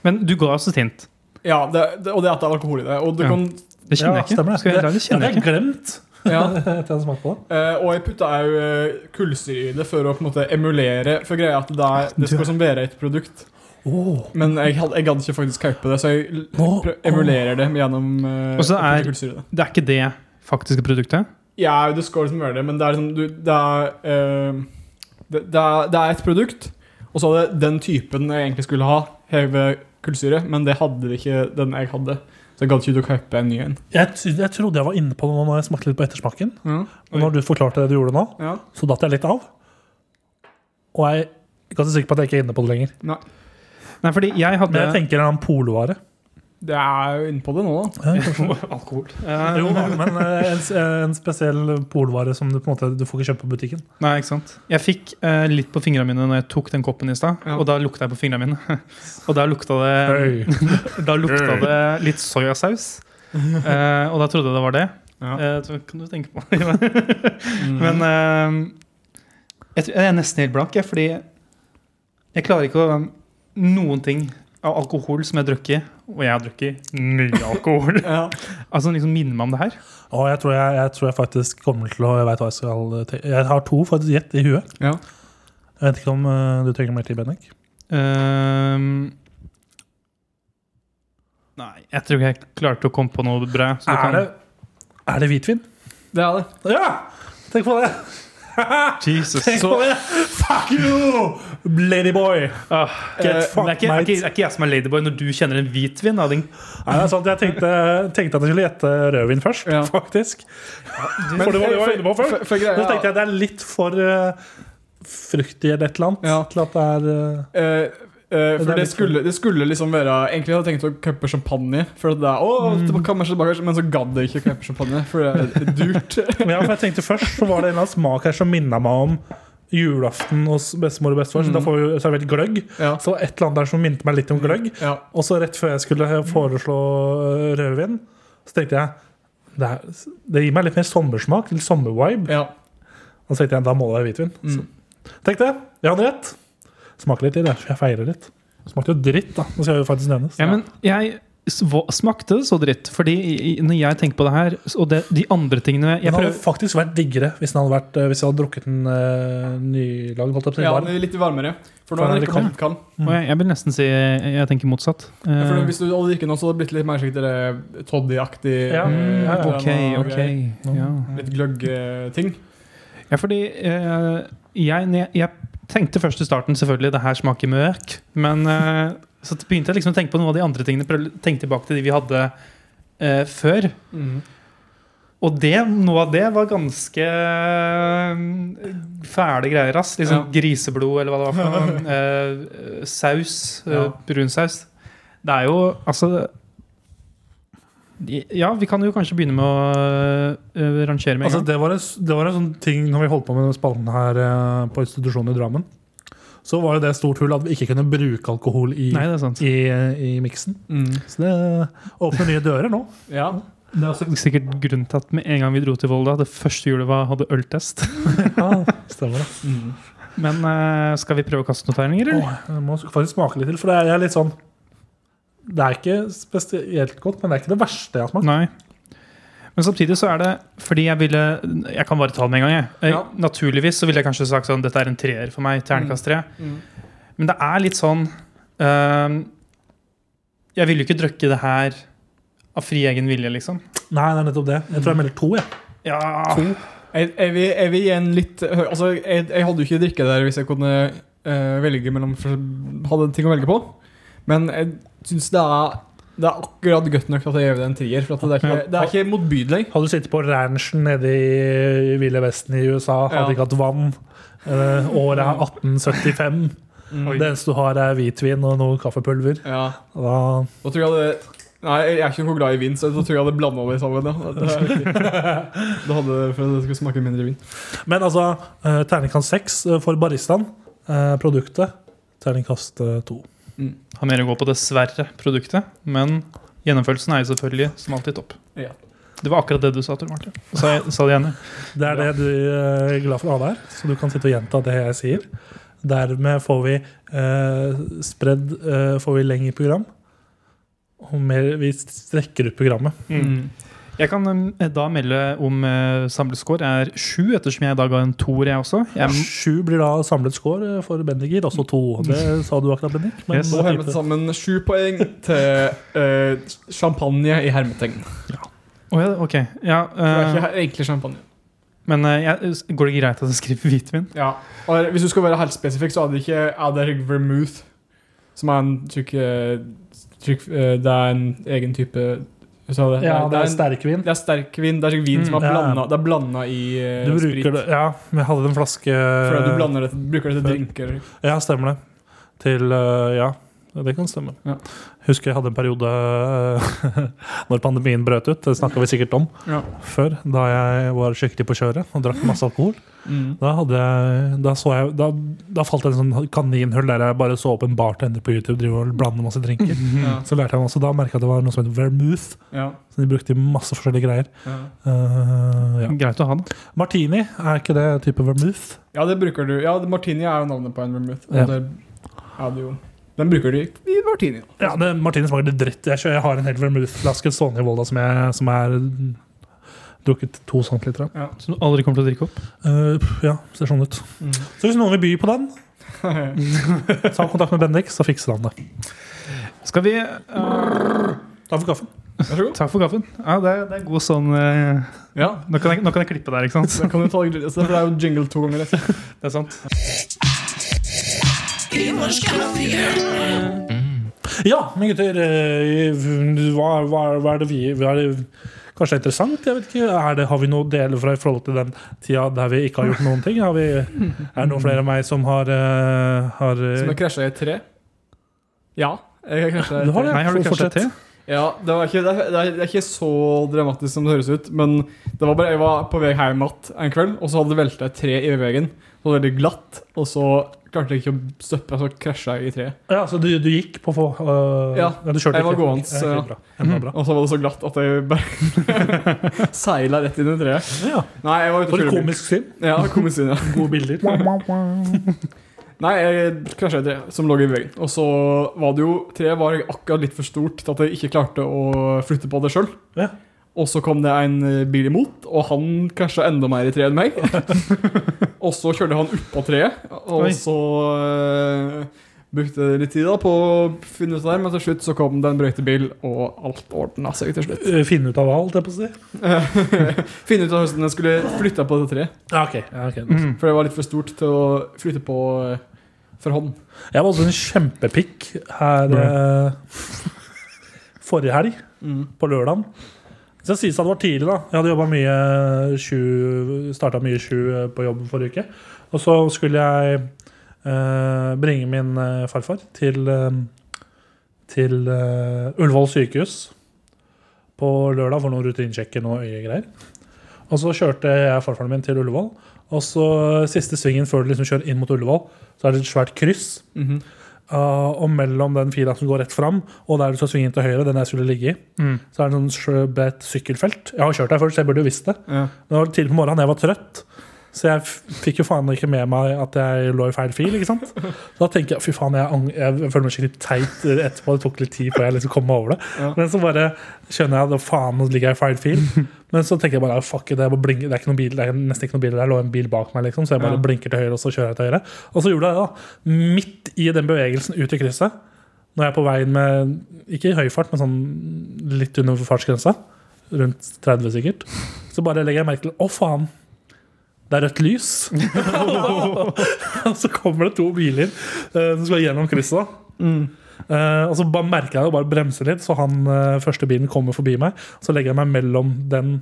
Speaker 2: Men du ga altså oss et hint.
Speaker 1: Ja, det, det, og det at det er alkohol i det. Og, du
Speaker 2: Ja.
Speaker 1: kan,
Speaker 2: Det kjenner
Speaker 3: ja,
Speaker 2: jeg ikke.
Speaker 3: stemmer det.
Speaker 2: Skal jeg, helt ærlig,
Speaker 3: Ja,
Speaker 2: kjenner
Speaker 3: det
Speaker 2: jeg
Speaker 3: er
Speaker 2: ikke.
Speaker 3: glemt
Speaker 1: ja.
Speaker 3: etter jeg smakte på det.
Speaker 1: Eh, og jeg putta òg kullsyre i det for å på en måte emulere. For greia er at det, er, det skal som være et produkt.
Speaker 3: Åh,
Speaker 1: Men jeg, had- jeg gadd ikke faktisk kjøpe det, så jeg l-
Speaker 3: Nå-
Speaker 1: prø- emulerer det gjennom eh,
Speaker 2: Og så
Speaker 1: å putte
Speaker 2: er-
Speaker 1: kullsyre i det.
Speaker 2: Det er ikke det faktiske produktet.
Speaker 1: Ja, du skal liksom gjøre det, men det er liksom du, det, er, eh, det, det, er, det er et produkt, og så hadde den typen jeg egentlig skulle ha, heve kullsyre, men det hadde det ikke den jeg hadde. Så jeg gadd ikke å kjøpe en ny en.
Speaker 3: jeg, tro- jeg trodde jeg var inne på det nå når jeg smakte litt på ettersmaken.
Speaker 1: Ja.
Speaker 3: Og når du forklarte det du gjorde nå,
Speaker 1: Ja.
Speaker 3: så datt jeg litt av. Og jeg er ganske sikker på at jeg ikke er inne på det lenger.
Speaker 2: Nei, fordi jeg hadde
Speaker 3: Men jeg tenker en annen polovare.
Speaker 1: Det er jo inne på det nå, da.
Speaker 3: Ja, kanskje.
Speaker 2: Alkohol. Eh,
Speaker 3: Jo, men eh, en, en spesiell polvare som du på en måte Du får ikke kjøpt på butikken.
Speaker 2: Nei, ikke sant. Jeg fikk eh, litt på fingrene mine når jeg tok den koppen i stad,
Speaker 1: Ja.
Speaker 2: og da lukta jeg på fingrene mine. og da lukta det, da lukta det litt soyasaus. Eh, og da trodde jeg det var det.
Speaker 1: Ja.
Speaker 2: Eh, så kan du tenke på Men eh, jeg, tror, jeg er nesten helt blank, jeg, fordi jeg klarer ikke å Noen ting av alkohol som jeg har drukket, og jeg har drukket mye alkohol,
Speaker 1: eh, Ja.
Speaker 2: altså liksom minner meg om det her.
Speaker 3: Og jeg tror jeg, jeg tror jeg faktisk kommer til å Jeg vet hva jeg skal te- Jeg har to faktisk gjett i huet.
Speaker 1: Ja.
Speaker 3: Jeg vet ikke om eh, du trenger mer tid, Bennik.
Speaker 2: Ehm, nei, jeg tror ikke jeg klarte å komme på noe bra. så du
Speaker 3: Er
Speaker 2: kan-
Speaker 3: det, er det hvitvin?
Speaker 1: Det er det.
Speaker 3: Ja! Tenk på det!
Speaker 2: Jesus.
Speaker 3: Tenk
Speaker 2: Så,
Speaker 3: på det! Fuck you, ladyboy!
Speaker 2: ah,
Speaker 3: Get
Speaker 1: Eh,
Speaker 2: men
Speaker 3: fucked,
Speaker 2: det er ikke, er, ikke,
Speaker 3: mate.
Speaker 2: er ikke jeg som er ladyboy når du kjenner en hvitvin? Da, din,
Speaker 3: Nei, det er sant. Jeg tenkte, tenkte at jeg skulle gjette rødvin først,
Speaker 1: Ja.
Speaker 3: faktisk. For det var det jeg var inne på før.
Speaker 1: For, for, for
Speaker 3: Men så
Speaker 1: greia
Speaker 3: tenkte jeg det er litt for eh, fruktig eller et eller annet
Speaker 1: Ja.
Speaker 3: til at det er eh,
Speaker 1: Eh, eh,
Speaker 3: Det
Speaker 1: for
Speaker 3: er
Speaker 1: det
Speaker 3: litt sånn.
Speaker 1: skulle, det skulle liksom være Egentlig hadde jeg tenkt å cuppe champagne, for at det er, å,
Speaker 3: Mm.
Speaker 1: det kan man ikke tilbake, men så gadd jeg ikke å cuppe champagne, for det er dyrt.
Speaker 3: Ja, for jeg tenkte først så var det en eller annen smak her som minna meg om julaften hos bestemor og bestefar. Så
Speaker 1: Mm.
Speaker 3: da får vi jo servert gløgg.
Speaker 1: ja.
Speaker 3: Så et eller annet der som minte meg litt om gløgg.
Speaker 1: Ja.
Speaker 3: Og så rett før jeg skulle foreslå øh, rødvin, så tenkte jeg det, er, det gir meg litt mer sommersmak, litt sommervibe.
Speaker 1: ja.
Speaker 3: Og så tenkte jeg da må det være hvitvin.
Speaker 1: Mm.
Speaker 3: Så tenkte jeg, jeg hadde rett. Smaker litt til, jeg, for jeg feirer litt. Det Smakte jo dritt, da. Det skal jo faktisk nevnes.
Speaker 2: ja, men jeg sv- smakte det så dritt, fordi i- i- når jeg tenker på det her, og det, de andre tingene jeg
Speaker 3: Den hadde
Speaker 2: prøver,
Speaker 3: faktisk vært diggere hvis den hadde, vært, øh, hvis jeg hadde drukket den øh, nylagd. Holdt jeg på å si,
Speaker 1: ja,
Speaker 3: varm.
Speaker 1: det er litt varmere. For nå
Speaker 3: For
Speaker 1: har
Speaker 3: det
Speaker 1: jeg
Speaker 3: er
Speaker 1: drukket popkorn.
Speaker 2: og jeg, jeg vil nesten si jeg, jeg tenker motsatt.
Speaker 1: Ja,
Speaker 2: Eh,
Speaker 1: for Hvis du hadde drukket nå, så hadde det blitt litt mer sikkert det toddy-aktig.
Speaker 3: Ja.
Speaker 1: eh,
Speaker 3: Ja, ja.
Speaker 1: et
Speaker 2: Mm, ok,
Speaker 1: eller annet
Speaker 2: ok.
Speaker 1: greier.
Speaker 2: Ja.
Speaker 1: Litt eh, gløgg-ting.
Speaker 2: Ja, fordi eh, jeg, når jeg, jeg tenkte først i starten selvfølgelig det her smaker møk, men eh, så begynte jeg liksom å tenke på noen av de andre tingene. Prøv, tenk tilbake til de vi hadde eh, før. Og det, noe av det var ganske eh, fæle greier. Ass. Liksom Griseblod, eller hva det var. for noe. Eh, saus. eh,
Speaker 1: Ja.
Speaker 2: brunsaus. Det er jo altså Ja, vi kan jo kanskje begynne med å eh, rangere med en
Speaker 3: Altså,
Speaker 2: gang.
Speaker 3: det, var en, det var en sånn ting når vi holdt på med den spalten her eh, på institusjonen i Drammen. Så var jo det et stort hull at vi ikke kunne bruke alkohol i,
Speaker 2: Nei, det er sant.
Speaker 3: i, i miksen. Så det åpner nye dører nå.
Speaker 1: Mm. Ja.
Speaker 2: Det er også sikkert grunnen til at med en gang vi dro til Volda, det første julet var, hadde øltest.
Speaker 3: Stemmer det.
Speaker 1: Mm.
Speaker 2: Men eh, skal vi prøve å kaste noen terninger, eller?
Speaker 3: Åh, jeg må faktisk smake litt til, for det er, jeg er litt sånn Det er ikke spesielt godt, men det er ikke det verste jeg har smakt.
Speaker 2: Nei. Men samtidig så er det fordi jeg ville Jeg kan bare ta det med en gang, jeg. Eh,
Speaker 1: Ja.
Speaker 2: Naturligvis så ville jeg kanskje sagt sånn dette er en treer for meg. Ternekast tre.
Speaker 1: Mm.
Speaker 2: Men det er litt sånn eh, Jeg ville jo ikke drukket det her av fri egen vilje, liksom.
Speaker 3: Nei, det er nettopp det. Jeg tror jeg melder to. jeg.
Speaker 2: Ja,
Speaker 1: Ah. Jeg, jeg, vil, jeg vil gi en litt hø- Altså, jeg, jeg hadde jo ikke drikket der hvis jeg kunne eh, velge mellom Hadde ting å velge på. Men jeg syns det er Det er akkurat godt nok til at jeg gir det en trier. For at det, er ikke, det er ikke motbydelig.
Speaker 3: Hadde du sittet på ranchen nede i Ville Vesten i USA, hadde
Speaker 1: Ja.
Speaker 3: ikke hatt vann, eh, året er 1875 Det eneste du har, er hvitvin og noe kaffepulver.
Speaker 1: Ja,
Speaker 3: Og Da,
Speaker 1: da tror jeg det Nei, jeg er ikke noe glad i vin, så da tror jeg jeg hadde blanda det sammen. Ja. Det er riktig. Da hadde det for at det skulle smake mindre vin.
Speaker 3: men altså, eh, terningkast seks eh, for baristaen. Eh, produktet terningkast eh, to.
Speaker 2: Har mer å gå på, dessverre, produktet. Men gjennomførelsen er jo selvfølgelig som alltid topp.
Speaker 1: Ja.
Speaker 2: Det var akkurat det du sa, Tor Martin. Sa, jeg, sa det igjen. jeg.
Speaker 3: Det er det du eh, er glad for å ha der, så du kan sitte og gjenta det jeg sier. Dermed får vi eh, spredd eh, Får vi lengre program. Og mer, vi strekker ut programmet.
Speaker 1: Mm.
Speaker 2: Jeg kan um, da melde om uh, samlet score er sju, ettersom jeg i dag har en toer, jeg også. Jeg,
Speaker 3: Sju blir da samlet score for Bendiger, altså to. Det sa du akkurat, Bendik. Men
Speaker 2: Yes.
Speaker 1: Så har vi til sammen sju poeng til eh, champagne i hermetegn.
Speaker 2: Å ja, ok. Ja,
Speaker 1: For det er
Speaker 2: eh,
Speaker 1: ikke he- egentlig champagne.
Speaker 2: men eh, jeg, går det greit at jeg skriver hvitvin?
Speaker 1: Ja. Og hvis du skal være helt spesifikk, så hadde ikke hadde jeg vermouth, som er en tykk, eh, tykk eh, Det er en egen type så det,
Speaker 3: ja, det er
Speaker 1: en,
Speaker 3: sterkvin.
Speaker 1: det er sterk vin. Det er sikkert vin
Speaker 2: Mm.
Speaker 1: som er
Speaker 3: Ja.
Speaker 1: blanda, det er blanda i eh,
Speaker 3: Du bruker
Speaker 1: sprit.
Speaker 3: det eh, Ja, men jeg hadde en flaske
Speaker 1: Fordi du blander det, bruker det til drinker.
Speaker 3: Ja, stemmer det. Til eh, Ja, det kan stemme.
Speaker 1: Ja.
Speaker 3: Husker jeg hadde en periode eh, når pandemien brøt ut. Det snakka vi sikkert om
Speaker 1: Ja.
Speaker 3: før, da jeg var skikkelig på kjøret og drakk masse alkohol.
Speaker 1: Mm.
Speaker 3: Da, hadde jeg, da, så jeg, da, da falt jeg i en sånn kaninhull der jeg bare så opp en bartender på YouTube drive og blande masse drinker.
Speaker 1: Ja.
Speaker 3: Så lærte jeg meg også, Da merka jeg at det var noe som het vermouth.
Speaker 1: Ja.
Speaker 3: Så de brukte i masse forskjellige greier.
Speaker 1: Ja.
Speaker 3: Eh, ja.
Speaker 2: Greit å ha, da.
Speaker 3: Martini, er ikke det type vermouth?
Speaker 1: ja, det bruker du. Ja, Martini er jo navnet på en vermouth.
Speaker 3: Ja.
Speaker 1: Og det er det jo. Den bruker du i martini.
Speaker 3: Ja, det, Martine smaker litt dritt. Jeg, kjører, jeg har en hel vermouthflaske stående i Volda som, jeg, som er mm, drukket to centiliter av.
Speaker 2: Som du aldri kommer til å drikke opp.
Speaker 3: Eh, pff, ja, ser sånn ut. Så hvis noen vil by på den, ta kontakt med Bendik, så fikser han det.
Speaker 2: Skal vi eh,
Speaker 3: Takk for kaffen.
Speaker 1: Vær så god.
Speaker 2: Takk for kaffen. Ja, det, er- det er god sånn eh,
Speaker 1: Ja.
Speaker 2: nå, kan jeg, nå kan jeg klippe der, ikke sant?
Speaker 1: Så kan du ta, så det er jo jingle to ganger. rett.
Speaker 2: Det er sant.
Speaker 3: Ja, men gutter, eh, hva, hva, hva er det vi hva er det, Kanskje det er interessant? jeg vet ikke er det, Har vi noe å dele fra i forhold til den tida der vi ikke har gjort noen ting? Har vi, er det noen flere av meg som har, eh, har eh,
Speaker 1: Som jeg krasja i et tre. Ja. Jeg krasja i
Speaker 3: Du
Speaker 1: et
Speaker 3: har
Speaker 1: tre.
Speaker 3: det?
Speaker 2: Nei, har du kanskje
Speaker 3: Fortsett.
Speaker 2: te?
Speaker 1: Ja, det, var ikke, det, er, det er- det er ikke så dramatisk som det høres ut. Men det var bare, jeg var på vei hjem igjen en kveld, og så hadde det velta et tre i veien. Så var det veldig glatt, og så klarte jeg ikke å støppe, så krasja jeg i treet.
Speaker 3: Ja, så du, du gikk på få øh,
Speaker 1: Ja,
Speaker 3: du kjørte
Speaker 1: jeg var
Speaker 3: ikke.
Speaker 1: gående, så ja.
Speaker 3: Ja, ok, bra. Ja, det var bra.
Speaker 1: Og så var det så glatt at jeg bare seila rett inn i treet.
Speaker 3: Ja,
Speaker 1: Nei, jeg var ute
Speaker 3: For
Speaker 1: og kjørte
Speaker 3: et
Speaker 1: Mm. bil.
Speaker 3: komisk syn.
Speaker 1: Ja, komisk inn, ja.
Speaker 3: Gode bilder.
Speaker 1: Nei, jeg krasja i et tre som lå i veggen. Og så var det jo Treet var akkurat litt for stort til at jeg ikke klarte å flytte på det sjøl.
Speaker 3: Ja.
Speaker 1: Og så kom det en eh, bil imot, og han krasja enda mer i treet enn meg. og så kjørte han oppå treet, og
Speaker 2: Oi.
Speaker 1: så eh, brukte jeg litt tid da på å finne ut av det, men til slutt så kom det en brøytebil, og alt ordna seg til slutt.
Speaker 3: Øh, Finne ut av hva, holdt jeg på å si.
Speaker 1: finne ut av hvordan jeg skulle flytte på det treet,
Speaker 3: Ja, ok. Ja, ok.
Speaker 2: Mm.
Speaker 1: for det var litt for stort til å flytte på eh, for hånd.
Speaker 3: Jeg var også en kjempepikk her øh, forrige helg,
Speaker 1: Mm.
Speaker 3: på lørdagen. Så det sies at det var tidlig, da. Jeg hadde jobba mye sju Starta mye sju øh, på jobb forrige uke. Og så skulle jeg øh, bringe min øh, farfar til, øh, til øh, Ullevål sykehus. på lørdag for noen rutinesjekker og øyegreier. Og så kjørte jeg og farfaren min til Ullevål. Og så eh, siste svingen før du liksom kjører inn mot Ullevål, så er det et svært kryss.
Speaker 1: Mhm.
Speaker 3: Ah, og mellom den fila som går rett fram, og der du skal svinge inn til høyre, den jeg skulle ligge i,
Speaker 2: Mm.
Speaker 3: så er det en sånn sjø- bredt sykkelfelt. Jeg har kjørt der før, så jeg burde jo visst det.
Speaker 1: Ja.
Speaker 3: Men det var tidlig på morgenen, jeg var trøtt. Så jeg f- fikk jo faen ikke med meg at jeg lå i feil fil. ikke sant? Da tenker jeg fy faen, jeg, ang- jeg føler meg skikkelig teit etterpå. Det tok litt tid før jeg liksom kom meg over det.
Speaker 1: Ja.
Speaker 3: Men så bare skjønner jeg at faen, nå ligger jeg i feil fil. Men så tenker jeg bare fuck it, det er, bare blink, det er, ikke noen bil, det er nesten ikke noen bil der. Det lå en bil bak meg, liksom, så jeg bare
Speaker 1: Ja.
Speaker 3: blinker til høyre, og så kjører jeg til høyre. Og så gjorde jeg det, da. Midt i den bevegelsen ut i krysset. Når jeg er på veien med ikke i høy fart, men sånn litt under fartsgrensa. Rundt 30 sikkert. Så bare legger jeg merke til Å, faen! Det er rødt lys! og så kommer det to biler eh, som skal gjennom krysset. da. Eh, og så bare merker jeg det og bare bremser litt, så han eh, første bilen kommer forbi meg. Så legger jeg meg mellom den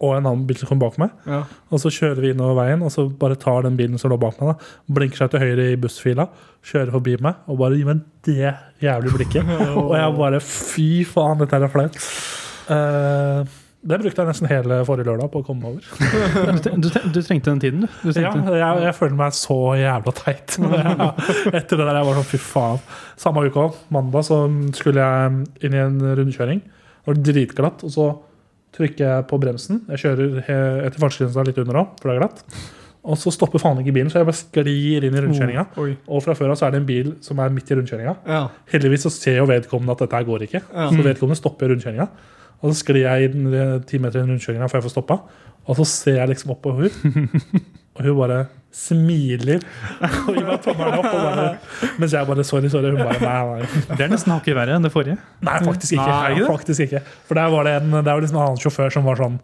Speaker 3: og en annen bil som kommer bak meg.
Speaker 1: Ja.
Speaker 3: Og så kjører vi innover veien, og så bare tar den bilen som lå bak meg, da, blinker seg til høyre i bussfila, kjører forbi meg og bare gir meg det jævlig blikket. Og jeg bare Fy faen, dette her er flaut. Eh, det brukte jeg nesten hele forrige lørdag på å komme meg over.
Speaker 2: Du, tre- du, tre- du trengte den tiden, du. du
Speaker 3: Ja,
Speaker 2: trengte.
Speaker 3: jeg, jeg føler meg så jævla teit. Etter det der jeg var sånn, fy faen. Samme uke òg, mandag, så skulle jeg inn i en rundkjøring. Det var dritglatt, og så trykker jeg på bremsen. Jeg kjører he- etter fartsgrensa litt under òg, for det er glatt. Og så stopper faen ikke bilen, så jeg bare sklir inn i rundkjøringa.
Speaker 2: Oh,
Speaker 1: Oi.
Speaker 2: Mm.
Speaker 3: Og fra før av så er det en bil som er midt i rundkjøringa.
Speaker 1: Ja.
Speaker 3: Heldigvis så ser jo vedkommende at dette her går ikke,
Speaker 1: Ja.
Speaker 2: Mm.
Speaker 3: så vedkommende stopper i rundkjøringa. Og så sklir jeg inn eh, ti meter inn i rundkjøringa før jeg får stoppa, og så ser jeg liksom opp på hun og hun bare smiler og gir meg tommelen opp. Og bare, mens jeg bare 'sorry, sorry'. Hun bare nei, nei.
Speaker 2: Det er nesten hakket verre enn det forrige.
Speaker 3: Nei, faktisk ikke.
Speaker 2: Nei, er det ikke det?
Speaker 3: faktisk ikke. For der var det en, der var liksom en annen sjåfør som var sånn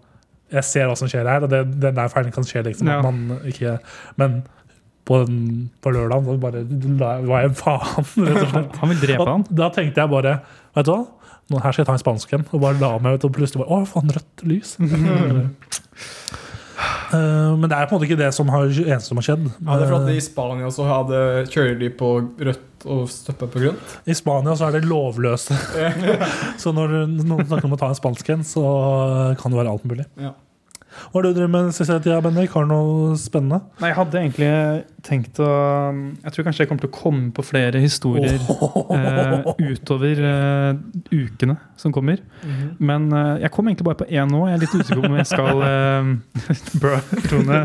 Speaker 3: Jeg ser hva som skjer her, og det, den der feilen kan skje. liksom
Speaker 2: Ja.
Speaker 3: at man ikke, Men på, den- på lørdagen så bare la, jeg- var jeg en faen, rett og slett.
Speaker 2: Han vil drepe han.
Speaker 3: Og da tenkte jeg bare Vet du hva? Nå, her skal jeg ta en spansk en. Og bare la meg ut, og plutselig bare Å, faen, rødt lys. Eh, men det er på en måte ikke det som har, eneste som har skjedd.
Speaker 1: Ja, det er for at I Spania så hadde, kjører de på rødt og stopper på grønt.
Speaker 3: Eh, I Spania så er det lovløse. så når du- noen snakker om å ta en spansk en, så kan det være alt mulig.
Speaker 1: Ja.
Speaker 3: Hva har du drevet med den siste tida, Bendik? Har du noe spennende?
Speaker 2: Nei, Jeg hadde egentlig tenkt å mm, Jeg tror kanskje jeg kommer til å komme på flere historier
Speaker 3: Oh.
Speaker 2: eh, utover eh, ukene som kommer. Men eh, jeg kom egentlig bare på én nå. Jeg er litt usikker på om jeg skal eh, Brø, Tone.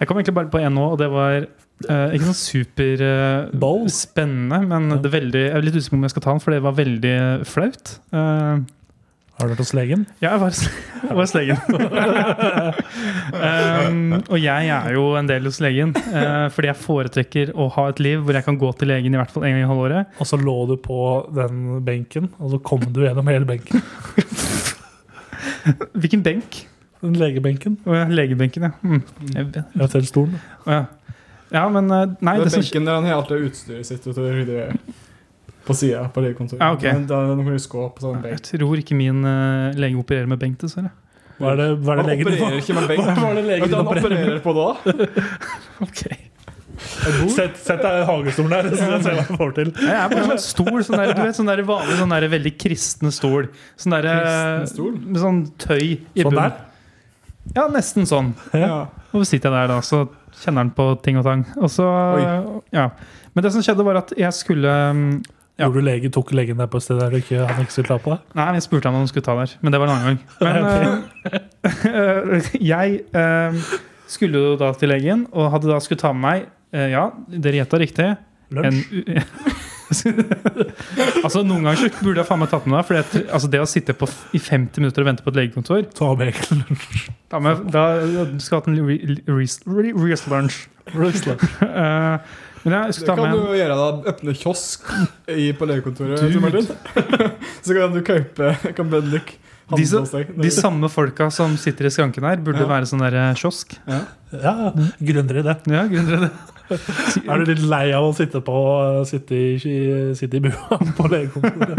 Speaker 2: Jeg kom egentlig bare på én nå, og det var eh, ikke sånn super eh,
Speaker 3: Bold.
Speaker 2: spennende, men det er veldig, jeg er litt usikker på om jeg skal ta den, for det var veldig flaut. Eh,
Speaker 3: Har du vært hos legen?
Speaker 2: ja, jeg var, hos- jeg var hos legen. um, og jeg er jo en del hos legen, eh, fordi jeg foretrekker å ha et liv hvor jeg kan gå til legen i hvert fall en gang i halvåret.
Speaker 3: Og så lå du på den benken, og så kom du gjennom hele benken.
Speaker 2: Hvilken benk?
Speaker 3: Den legebenken.
Speaker 2: Å, ja, legebenken, ja. Mm. Jeg vet-
Speaker 3: Eventuelt stolen.
Speaker 2: Å, ja. ja, men eh, Nei,
Speaker 1: Det
Speaker 2: det
Speaker 1: er
Speaker 2: som
Speaker 1: benken der han har alt det utstyret sitt ute og rydder på sida på det kontoret.
Speaker 2: Ja, ok.
Speaker 1: Men da må du skå på sånn
Speaker 2: Jeg
Speaker 1: benk.
Speaker 2: tror ikke min eh, lege opererer med benk, dessverre.
Speaker 3: Hva er det, hva er
Speaker 1: Han
Speaker 3: det legen
Speaker 1: opererer ikke med benk.
Speaker 3: Hva var det legen
Speaker 1: Vet du hva han
Speaker 3: opererer
Speaker 1: opererer på da?
Speaker 2: Okay.
Speaker 3: Sett, sett deg i hagestolen der, så ser jeg hva jeg får til.
Speaker 2: Jeg er bare sånn stol, sånn der, du vet, sånn der vanlig, sånn der veldig kristne stol. Sånn der, eh,
Speaker 1: Kristen stol?
Speaker 2: Med sånn tøy i
Speaker 3: Sånn
Speaker 2: bunnen.
Speaker 3: der?
Speaker 2: Ja, nesten sånn.
Speaker 1: Ja.
Speaker 2: Og så sitter jeg der da, så kjenner han på ting og tang. Og så, ja. Men det som skjedde, var at jeg skulle mm, Ja.
Speaker 3: Gjorde du lege, tok legen deg på et sted der du ikke, han ikke skulle ta på deg?
Speaker 2: Nei, jeg spurte han om han skulle ta der, men det var en annen gang. Men eh, jeg eh, skulle jo da til legen, og hadde da skulle ta med meg eh, Ja, dere gjetta riktig. En,
Speaker 3: Lunsj?
Speaker 2: altså Noen ganger så burde jeg faen meg tatt med meg. For det, altså, det å sitte på, f- i 50 minutter og vente på et legekontor
Speaker 3: Ta med egen
Speaker 2: Da, må jeg- da du skal jeg hatt en re, re, re, re, lunch.
Speaker 3: lunsj.
Speaker 2: Eh, men jeg
Speaker 1: Det
Speaker 2: skulle ta
Speaker 1: kan
Speaker 2: med
Speaker 1: du
Speaker 2: en
Speaker 1: jo gjøre. da Åpne kiosk i, på legekontoret.
Speaker 2: Dude.
Speaker 1: Tor Martin. Så kan du kaupe Kan Bendik handle
Speaker 2: De som-
Speaker 1: hos deg.
Speaker 2: De samme folka som sitter i skranken her, burde
Speaker 1: Ja.
Speaker 2: være sånn der eh, kiosk.
Speaker 3: Ja, grønnere idé.
Speaker 2: Ja, grunnen til det.
Speaker 3: Er du litt lei av å sitte, på, sitte, i, sitte i bua på legekontoret?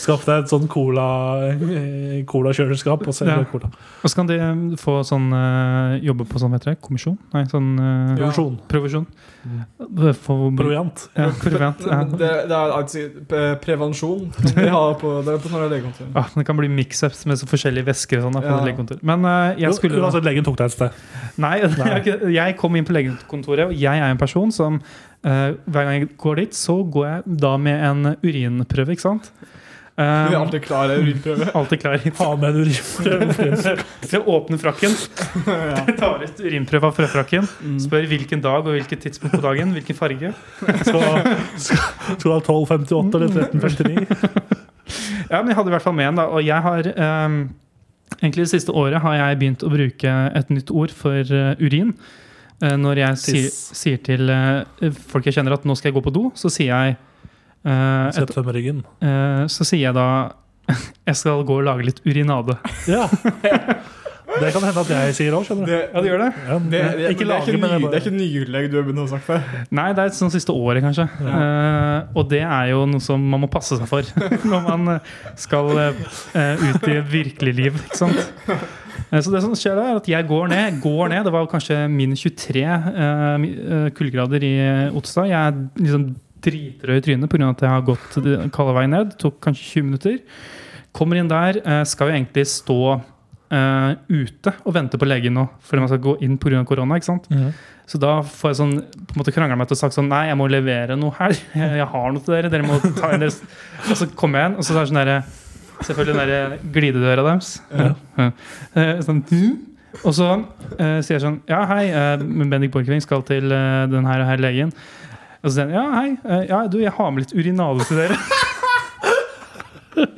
Speaker 3: Skaff deg et sånn cola eh, colakjøleskap og selg
Speaker 2: Ja.
Speaker 3: cola.
Speaker 2: Og så kan de eh, få sånn eh, jobbe på sånn, hva heter det, kommisjon? Nei, sånn eh,
Speaker 1: Ja.
Speaker 3: Produksjon.
Speaker 2: provisjon. Eh, for-
Speaker 3: Proviant.
Speaker 2: Ja, proviant.
Speaker 1: Nei,
Speaker 2: Ja.
Speaker 1: men Mm. Det, det er altså pre- prevensjon de har på, det er på sånne legekontorer.
Speaker 2: Ah, det kan bli mix-ups med så forskjellige væsker. og sånn da,
Speaker 1: Ja.
Speaker 2: på legekontor. Men eh, jeg skulle
Speaker 3: Uansett, legen tok deg et sted.
Speaker 2: Nei, det er ikke- jeg kom inn på legekontoret, og jeg er en person som eh, Hver gang jeg går dit, så går jeg da med en urinprøve, ikke sant?
Speaker 1: Du er
Speaker 2: Uh,
Speaker 1: alltid klar i urinprøve.
Speaker 2: alltid klar.
Speaker 3: Ha med en urinprøve.
Speaker 2: Så jeg åpner frakken, tar ut urinprøve av frøfrakken, spør hvilken dag og hvilket tidspunkt på dagen, hvilken farge.
Speaker 3: Skal skal du ha 12,58 eller 13,59?
Speaker 2: Ja, men jeg hadde i hvert fall med en, da. Og jeg har ehm, Egentlig det siste året har jeg begynt å bruke et nytt ord for eh, urin. Eh, når jeg sier,
Speaker 3: Tiss.
Speaker 2: sier til eh, folk jeg kjenner at nå skal jeg gå på do, så sier jeg eh, et,
Speaker 3: Sett deg med ryggen.
Speaker 2: eh, Så sier jeg da jeg skal gå og lage litt urinade.
Speaker 3: Ja. Det kan hende at jeg sier òg, skjønner du.
Speaker 1: Det,
Speaker 2: Ja, det gjør det?
Speaker 3: Ja,
Speaker 1: det, det, men
Speaker 3: ikke
Speaker 1: det, er
Speaker 3: lage,
Speaker 1: ikke
Speaker 3: men jeg
Speaker 1: ny,
Speaker 3: bare-
Speaker 1: det er ikke nyleg du har begynt å snakke for.
Speaker 2: Nei, det er sånn siste året, kanskje. Eh, og det er jo noe som man må passe seg for når man eh, skal eh, eh, ut i virkelig liv. Ikke sant? Eh, så det som skjer da, er at jeg går ned. går ned, Det var kanskje min 23 eh, mi- eh, kuldegrader i Otstad. Jeg er liksom dritrød i trynet pga. at jeg har gått den kalde veien ned. Tok kanskje 20 minutter. Kommer inn der, eh, skal jo egentlig stå eh, ute og vente på legen nå, fordi man skal gå inn pga. korona. ikke sant?
Speaker 3: Mhm.
Speaker 2: Så da får jeg sånn, på en måte krangla meg til å sagt sånn Nei, jeg må levere noe her. Jeg, jeg har noe til dere. Dere må ta inn deres Og så kommer jeg inn, og eh, så er det sånn derre Selvfølgelig den derre glidedøra deres.
Speaker 1: Ja.
Speaker 2: Eh, Sånn «Hm?» Og så eh, sier jeg sånn Ja, hei, eh, Bendik Borchgrevink skal til eh, den her, her legen. Og så sier han ja, hei, eh, ja, du, jeg har med litt urinale til dere.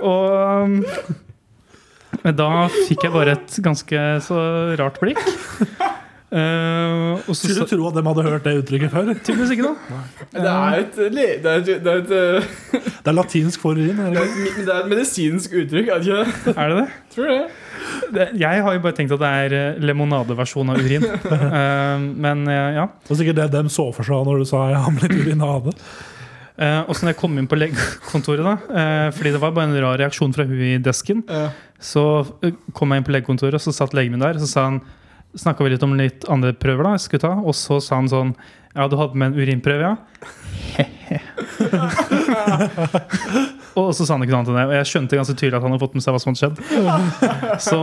Speaker 2: Og um, men da fikk jeg bare et ganske så rart blikk. Eh, og så
Speaker 3: Skulle
Speaker 2: sa-
Speaker 3: tro at de hadde hørt det uttrykket før.
Speaker 2: Tydeligvis ikke, da.
Speaker 1: Det er et, le- det er et, det er et, eh,
Speaker 3: Det er latinsk for urin. er
Speaker 1: det er
Speaker 3: det ikke?
Speaker 1: et, mi- det er et medisinsk uttrykk, er det ikke det?
Speaker 2: Er det det?
Speaker 1: Tror det.
Speaker 2: det? Jeg har jo bare tenkt at det er eh, lemonadeversjon av urin. Eh, men eh, ja.
Speaker 3: Det var sikkert det de så for seg når du sa 'jeg har med litt urinade'.
Speaker 2: Eh, og så når jeg kom inn på legekontoret, da, eh, fordi det var bare en rar reaksjon fra hun i desken,
Speaker 1: Ja.
Speaker 2: så eh, kom jeg inn på legekontoret, og så satt legen min der. Så sa han Snakka vi litt om litt andre prøver, da, jeg skulle ta, og så sa han sånn Ja, du hadde med en urinprøve, ja? og så sa han ikke noe annet enn det. Og jeg skjønte ganske tydelig at han hadde fått med seg hva som hadde skjedd. Så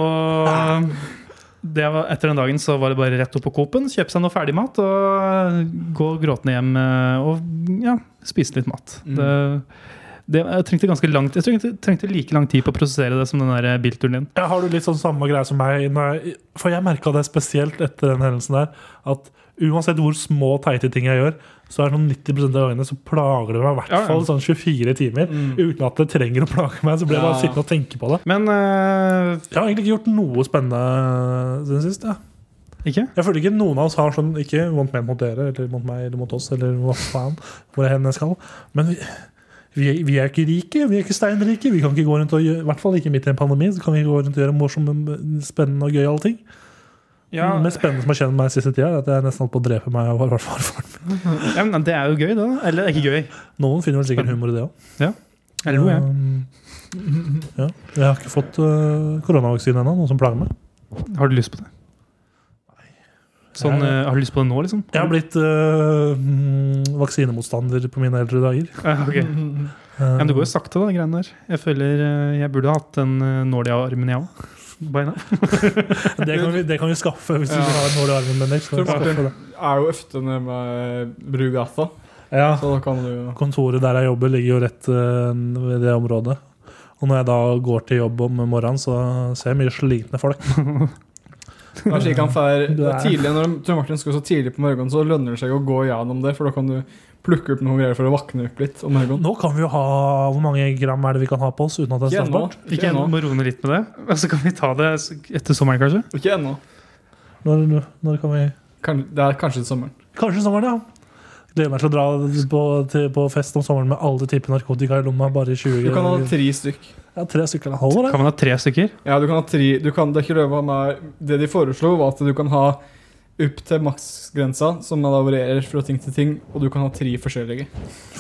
Speaker 2: det var, etter den dagen så var det bare rett opp på Coop-en, kjøpe seg noe ferdigmat og eh, gå gråtende hjem eh, og ja, spise litt mat.
Speaker 1: Mm.
Speaker 2: Det, det, jeg trengte ganske langt, jeg trengte, trengte like lang tid på å prosessere det som den der eh, bilturen din.
Speaker 3: Ja, har du litt sånn samme greie som meg? Når jeg, for jeg merka det spesielt etter den hendelsen der. At uansett hvor små, teite ting jeg gjør, så er det sånn 90 av gangene så plager det meg i hvert
Speaker 2: Ja, ja.
Speaker 3: fall sånn 24 timer. Uten at det trenger å plage meg. Så
Speaker 1: Mm.
Speaker 3: blir jeg
Speaker 1: Ja,
Speaker 3: bare
Speaker 1: ja.
Speaker 3: sittende og tenke på det.
Speaker 2: Men eh,
Speaker 3: Jeg har egentlig ikke gjort noe spennende siden sist. Ja.
Speaker 2: ikke?
Speaker 3: Jeg føler ikke noen av oss har sånn Ikke mot meg mot dere, eller mot meg eller mot oss, eller hva faen. Hvor jeg hen jeg skal. Men vi, vi, er- vi er ikke rike. Vi er ikke steinrike. Vi kan ikke gå rundt og gjøre, I hvert fall ikke midt i en pandemi. Så kan vi ikke gå rundt og gjøre morsomme, spennende og gøyale ting.
Speaker 2: Ja,
Speaker 3: Det mest spennende som har skjedd med meg siste tida, er at jeg nesten holdt på å drepe meg. Og var, var, var, var.
Speaker 2: ja, men det er jo gøy, da. Eller ikke gøy.
Speaker 3: Noen finner vel sikkert humor i det òg.
Speaker 2: Eller noe, ja.
Speaker 3: ja. Jeg har ikke fått øh, koronavaksine ennå, noe som plager meg.
Speaker 2: Har du lyst på det? Sånn,
Speaker 3: Ja, ja.
Speaker 2: eh, har du lyst på det nå, liksom?
Speaker 3: Jeg har blitt øh, mm, vaksinemotstander på mine eldre dager. Um,
Speaker 2: Eh, ok. Ja, men det går jo sakte, da, greiene der. Jeg føler eh, jeg burde hatt den eh, nål i armen, jeg òg. Beina.
Speaker 3: det, kan vi, det kan vi skaffe hvis du
Speaker 1: Ja.
Speaker 3: har noe i armen. Bendik, så kan vi
Speaker 1: Tror Martin.
Speaker 3: skaffe det.
Speaker 1: Er jo ofte nede med Brugata,
Speaker 3: Ja,
Speaker 1: så da kan du jo
Speaker 3: Kontoret der jeg jobber, ligger jo rett øh, ved det området. Og når jeg da går til jobb om morgenen, så ser jeg mye slitne folk.
Speaker 1: Det er slik han fer,
Speaker 3: Du er-
Speaker 1: tidlig, Når Tor Martin skal så tidlig på morgenen, så lønner det seg å gå gjennom det, for da kan du plukke opp noen greier for å våkne opp litt om morgenen.
Speaker 3: Nå kan vi jo ha Hvor mange gram er det vi kan ha på oss uten at det er
Speaker 1: Ikke ennå.
Speaker 3: straffbart?
Speaker 2: Ikke
Speaker 1: Ikke
Speaker 2: ennå.
Speaker 1: ennå.
Speaker 2: Må roe ned litt med det. Og så kan vi ta det etter sommeren, kanskje.
Speaker 1: Ikke ennå.
Speaker 3: Når, når kan vi
Speaker 1: Kan- Det er kanskje til sommeren.
Speaker 3: Kanskje sommeren, ja. Gleder meg til å dra på, til, på fest om sommeren med alle typer narkotika i lomma. Bare 20
Speaker 1: Du kan ha tre stykk.
Speaker 3: Ja, tre stykker. Det holder, det.
Speaker 2: Kan man ha tre stykker?
Speaker 1: Ja, du kan ha tre du kan, Det er ikke lov å ha mer. Det de foreslo, var at du kan ha opp til maksgrensa, som da varierer fra ting til ting, og du kan ha tre forskjellige.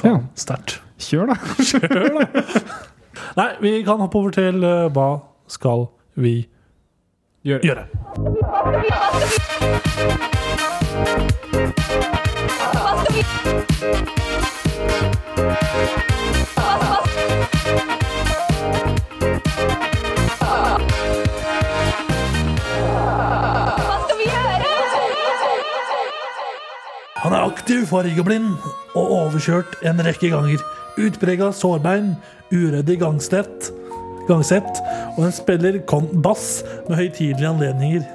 Speaker 2: Ja.
Speaker 3: Faen, Sterkt.
Speaker 2: Kjør, da.
Speaker 3: Nei, vi kan hoppe over til eh, Hva skal vi
Speaker 1: Gjør det.
Speaker 3: gjøre?
Speaker 5: Hva skal vi gjøre?
Speaker 3: Han er aktiv, fargeblind og overkjørt en rekke ganger. Utprega sårbein, uredd i gangsett, gangsett og en spiller kon bass med høytidelige anledninger.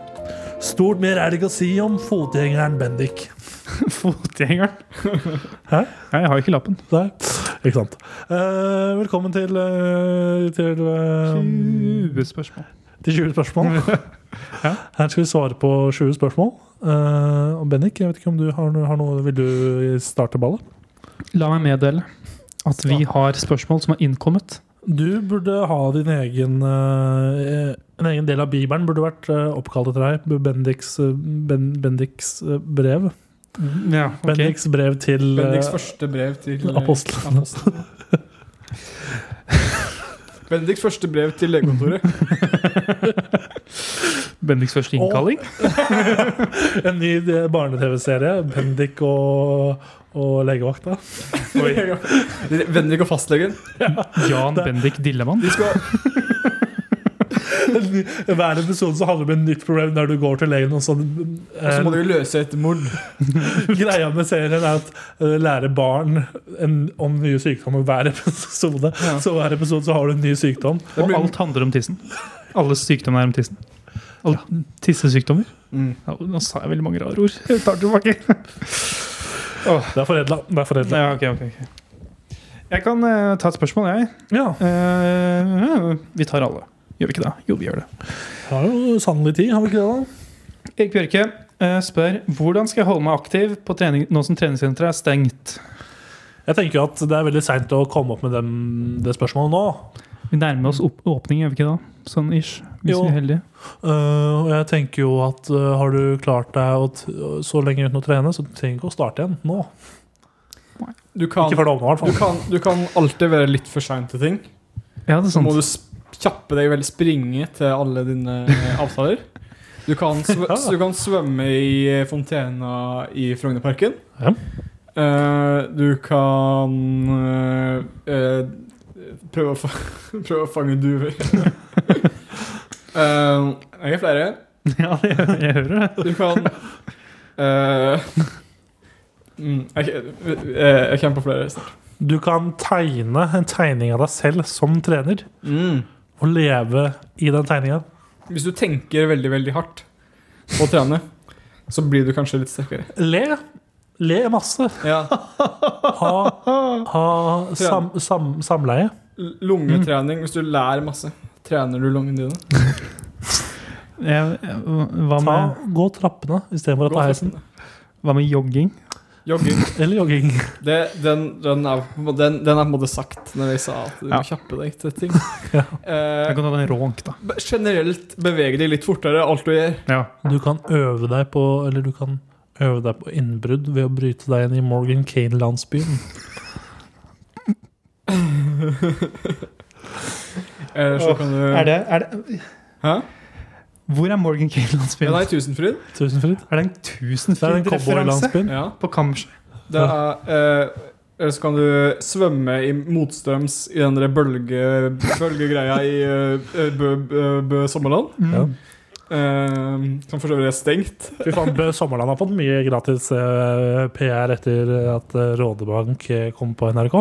Speaker 3: Stort mer er det ikke å si om fotgjengeren Bendik.
Speaker 2: Fotgjengeren.
Speaker 3: Hæ?
Speaker 2: Nei, jeg har ikke lappen.
Speaker 3: Der. Ikke sant. Eh, velkommen til eh, til,
Speaker 2: Um,
Speaker 3: eh,
Speaker 2: 20 spørsmål.
Speaker 3: til 20 spørsmål.
Speaker 2: Ja.
Speaker 3: Her skal vi svare på 20 spørsmål. Eh, og Bendik, jeg vet ikke om du har, no- har noe Vil du starte ballet?
Speaker 2: La meg meddele at vi har spørsmål som har innkommet.
Speaker 3: Du burde ha din egen eh, En egen del av Bibelen burde vært eh, oppkalt etter deg. Bendiks, eh, ben, Bendiks eh, brev.
Speaker 2: Ja, ok.
Speaker 3: Bendiks brev til eh,
Speaker 1: Bendiks første brev til eh,
Speaker 3: Apostlene.
Speaker 1: apostlene. Bendiks første brev til legekontoret.
Speaker 2: Bendiks første innkalling.
Speaker 3: En ny eh, barne-TV-serie. Bendik og, og legevakta.
Speaker 1: Bendik og fastlegen.
Speaker 2: Jan Bendik Dillemann.
Speaker 1: De skal
Speaker 3: Hver episode så handler det om et nytt problem der du går til legen. Og sånn,
Speaker 1: Og så må
Speaker 3: eh,
Speaker 1: du jo løse et mord.
Speaker 3: Greia med serien er at eh, lære barn en, om nye sykdommer hver episode. Så hver episode så har du en ny sykdom.
Speaker 1: Det
Speaker 2: Og
Speaker 1: blir-
Speaker 2: alt handler om tissen. Alle sykdommer er om tissen. Alle Tissesykdommer.
Speaker 1: Mm.
Speaker 2: Ja, nå sa jeg veldig mange rare ord. Jeg tar det tilbake.
Speaker 3: Det er foredla. Det er foredla.
Speaker 2: Ja, ok, ok, ok. Jeg kan eh, ta et spørsmål, jeg.
Speaker 3: Ja,
Speaker 2: Eh, vi tar alle. Gjør vi ikke det? Jo, vi gjør det.
Speaker 3: har jo sannelig tid, har vi ikke det? da?
Speaker 2: Erik Bjørke eh, spør hvordan skal jeg holde meg aktiv på trening, nå som treningssenteret er stengt.
Speaker 3: Jeg tenker jo at det er veldig seint å komme opp med dem, det spørsmålet nå.
Speaker 2: Vi nærmer oss opp åpning, gjør vi ikke da? Sånn ish. Hvis
Speaker 3: Jo.
Speaker 2: vi er heldige.
Speaker 3: Eh, og jeg tenker jo at eh, har du klart deg å t så lenge uten å trene, så du trenger ikke å starte igjen nå.
Speaker 1: Du kan,
Speaker 3: Ikke før det åpner,
Speaker 1: du
Speaker 3: i hvert fall.
Speaker 1: kan, du kan alltid være litt for sein til ting.
Speaker 2: Ja, det er
Speaker 1: Så må
Speaker 2: sant.
Speaker 1: du sp- kjappe deg veldig springe til alle dine eh, avtaler. Du kan, sv du kan svømme i eh, fontena i Frognerparken.
Speaker 3: Ja.
Speaker 1: Eh, du kan eh, eh, prøve, å fa prøve å fange duer. Eh, jeg har flere.
Speaker 2: Ja, det, jeg hører det.
Speaker 1: Du kan eh, mm, jeg, jeg, jeg kommer på flere snart.
Speaker 3: Du kan tegne en tegning av deg selv som trener, og leve i den tegninga.
Speaker 1: Hvis du tenker veldig, veldig hardt på å trene, så blir du kanskje litt sterkere.
Speaker 3: Le. Le masse.
Speaker 1: Ja.
Speaker 3: Ha, ha sam, sam, samleie.
Speaker 1: L- Lungetrening. Hvis du lærer masse, trener du lungene dine.
Speaker 2: Jeg, jeg, hva,
Speaker 3: Ta,
Speaker 2: med,
Speaker 3: gå trappene istedenfor å
Speaker 1: Gå
Speaker 3: ta
Speaker 1: og
Speaker 3: heisen.
Speaker 1: trene.
Speaker 2: hva med jogging?
Speaker 1: Jogging.
Speaker 3: Eller jogging.
Speaker 1: Det, den, den, er, på en måte- den, den er på en måte sagt når jeg sa at du
Speaker 2: Ja.
Speaker 1: må kjappe deg til ting.
Speaker 3: Ja.
Speaker 2: Jeg
Speaker 1: Eh,
Speaker 2: kan ta den rånk, da.
Speaker 1: be- generelt bevege deg litt fortere, alt du gjør.
Speaker 2: Ja.
Speaker 3: Du kan øve deg på Eller du kan øve deg på innbrudd ved å bryte deg inn i Morgan Kane-landsbyen.
Speaker 1: Eh, så
Speaker 2: Åh,
Speaker 1: kan du
Speaker 2: Er det, er det,
Speaker 1: Hæ?
Speaker 2: hvor er Morgan
Speaker 1: Ja, nei,
Speaker 2: Kane-landsbyen?
Speaker 1: Tusenfryd.
Speaker 3: Tusenfryd.
Speaker 2: Er det en
Speaker 3: Det er den
Speaker 2: tusenfryd-referanse?
Speaker 3: cowboylandsbyen.
Speaker 1: Ja.
Speaker 2: På kammerset.
Speaker 1: Det er eh, Eller så kan du svømme i motstrøms i den der bølge, bølgegreia i eh, Bø, Bø, Bø Sommerland.
Speaker 2: Mm.
Speaker 3: Ja.
Speaker 1: Eh, som for så vidt er stengt.
Speaker 3: Fy faen, Bø Sommerland har fått mye gratis eh, PR etter at eh, Rådebank eh, kom på NRK.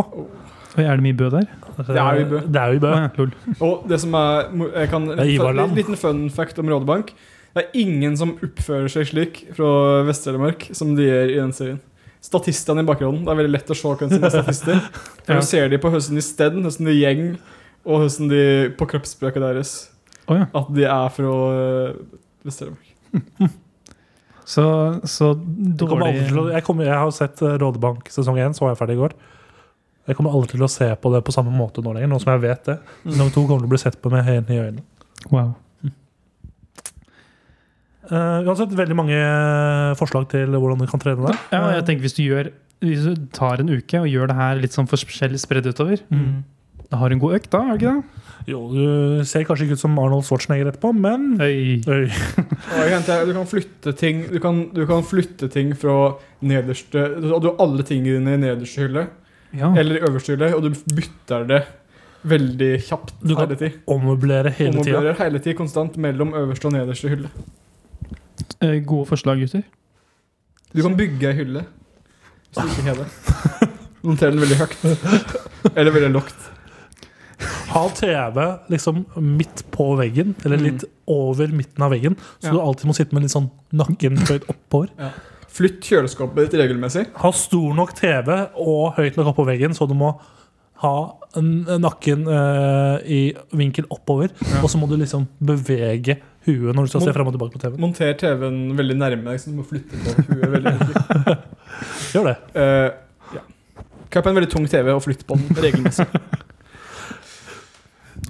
Speaker 2: Oi, er det mye bø der?
Speaker 3: Det
Speaker 1: er jo i Bø.
Speaker 3: Det er jo i Bø.
Speaker 2: Å, ja, lol.
Speaker 1: Og det som er mo- jeg kan,
Speaker 3: er Ivarland.
Speaker 1: En liten fun fact om Rådebank. Det er ingen som oppfører seg slik fra Vest-Telemark som de gjør i den serien. Statistene i bakgrunnen. Det er veldig lett å se hvem som er statister. For
Speaker 2: Ja.
Speaker 1: Du ser de på hvordan de sted, hvordan de gjeng, og hvordan de på kroppsspråket deres.
Speaker 2: Å, ja.
Speaker 1: At de er fra eh, Vest-Telemark.
Speaker 2: Så, så
Speaker 3: Jeg kommer aldri til å,
Speaker 2: dårlig
Speaker 3: jeg, kommer, jeg har sett eh, Rådebank sesong 1, så var jeg ferdig i går. Jeg kommer aldri til å se på det på samme måte nå lenger, nå som jeg vet det. Sesong 2 kommer til å bli sett på med helt nye øyne.
Speaker 2: Wow.
Speaker 3: Eh, uansett, veldig mange eh, forslag til hvordan du kan trene deg.
Speaker 2: Ja, jeg tenker hvis du gjør Hvis du tar en uke og gjør det her litt sånn forskjellig spredd utover,
Speaker 1: Mm.
Speaker 2: da har du en god økt, da? er det ikke
Speaker 3: Jo, du ser kanskje ikke ut som Arnold Schwarzenegger etterpå, men
Speaker 2: det? Øy.
Speaker 3: Øy.
Speaker 1: Og jeg henter, du kan flytte ting Du kan, du kan flytte ting fra nederste Og du har alle tingene dine i nederste hylle
Speaker 3: Mm.
Speaker 2: Ja.
Speaker 1: eller i øverste hylle, og du bytter det veldig kjapt
Speaker 3: Du kan
Speaker 1: hele tid.
Speaker 3: ommøblere hele tida.
Speaker 1: Ommoblerer hele tid konstant mellom øverste og nederste hylle.
Speaker 2: Eh, Gode forslag, gutter.
Speaker 1: Du kan bygge ei hylle. Hvis du ikke har det. Monter den veldig høyt. Eller veldig lågt.
Speaker 3: Ha TV liksom midt på veggen, eller
Speaker 1: Mm.
Speaker 3: litt over midten av veggen, så
Speaker 1: Ja.
Speaker 3: du alltid må sitte med litt sånn nakken høyt oppover.
Speaker 1: Flytt kjøleskapet ditt regelmessig.
Speaker 3: Ha stor nok TV og høyt nok oppå veggen, så du må ha n- nakken eh, i vinkel oppover, og så må du liksom bevege huet når du skal
Speaker 1: Må-
Speaker 3: se frem og tilbake på TV-en.
Speaker 1: Monter TV-en veldig nærme deg, så du må flytte på huet veldig.
Speaker 3: Gjør det.
Speaker 1: Eh, ja. Kjøp en veldig tung TV og flytt på den regelmessig.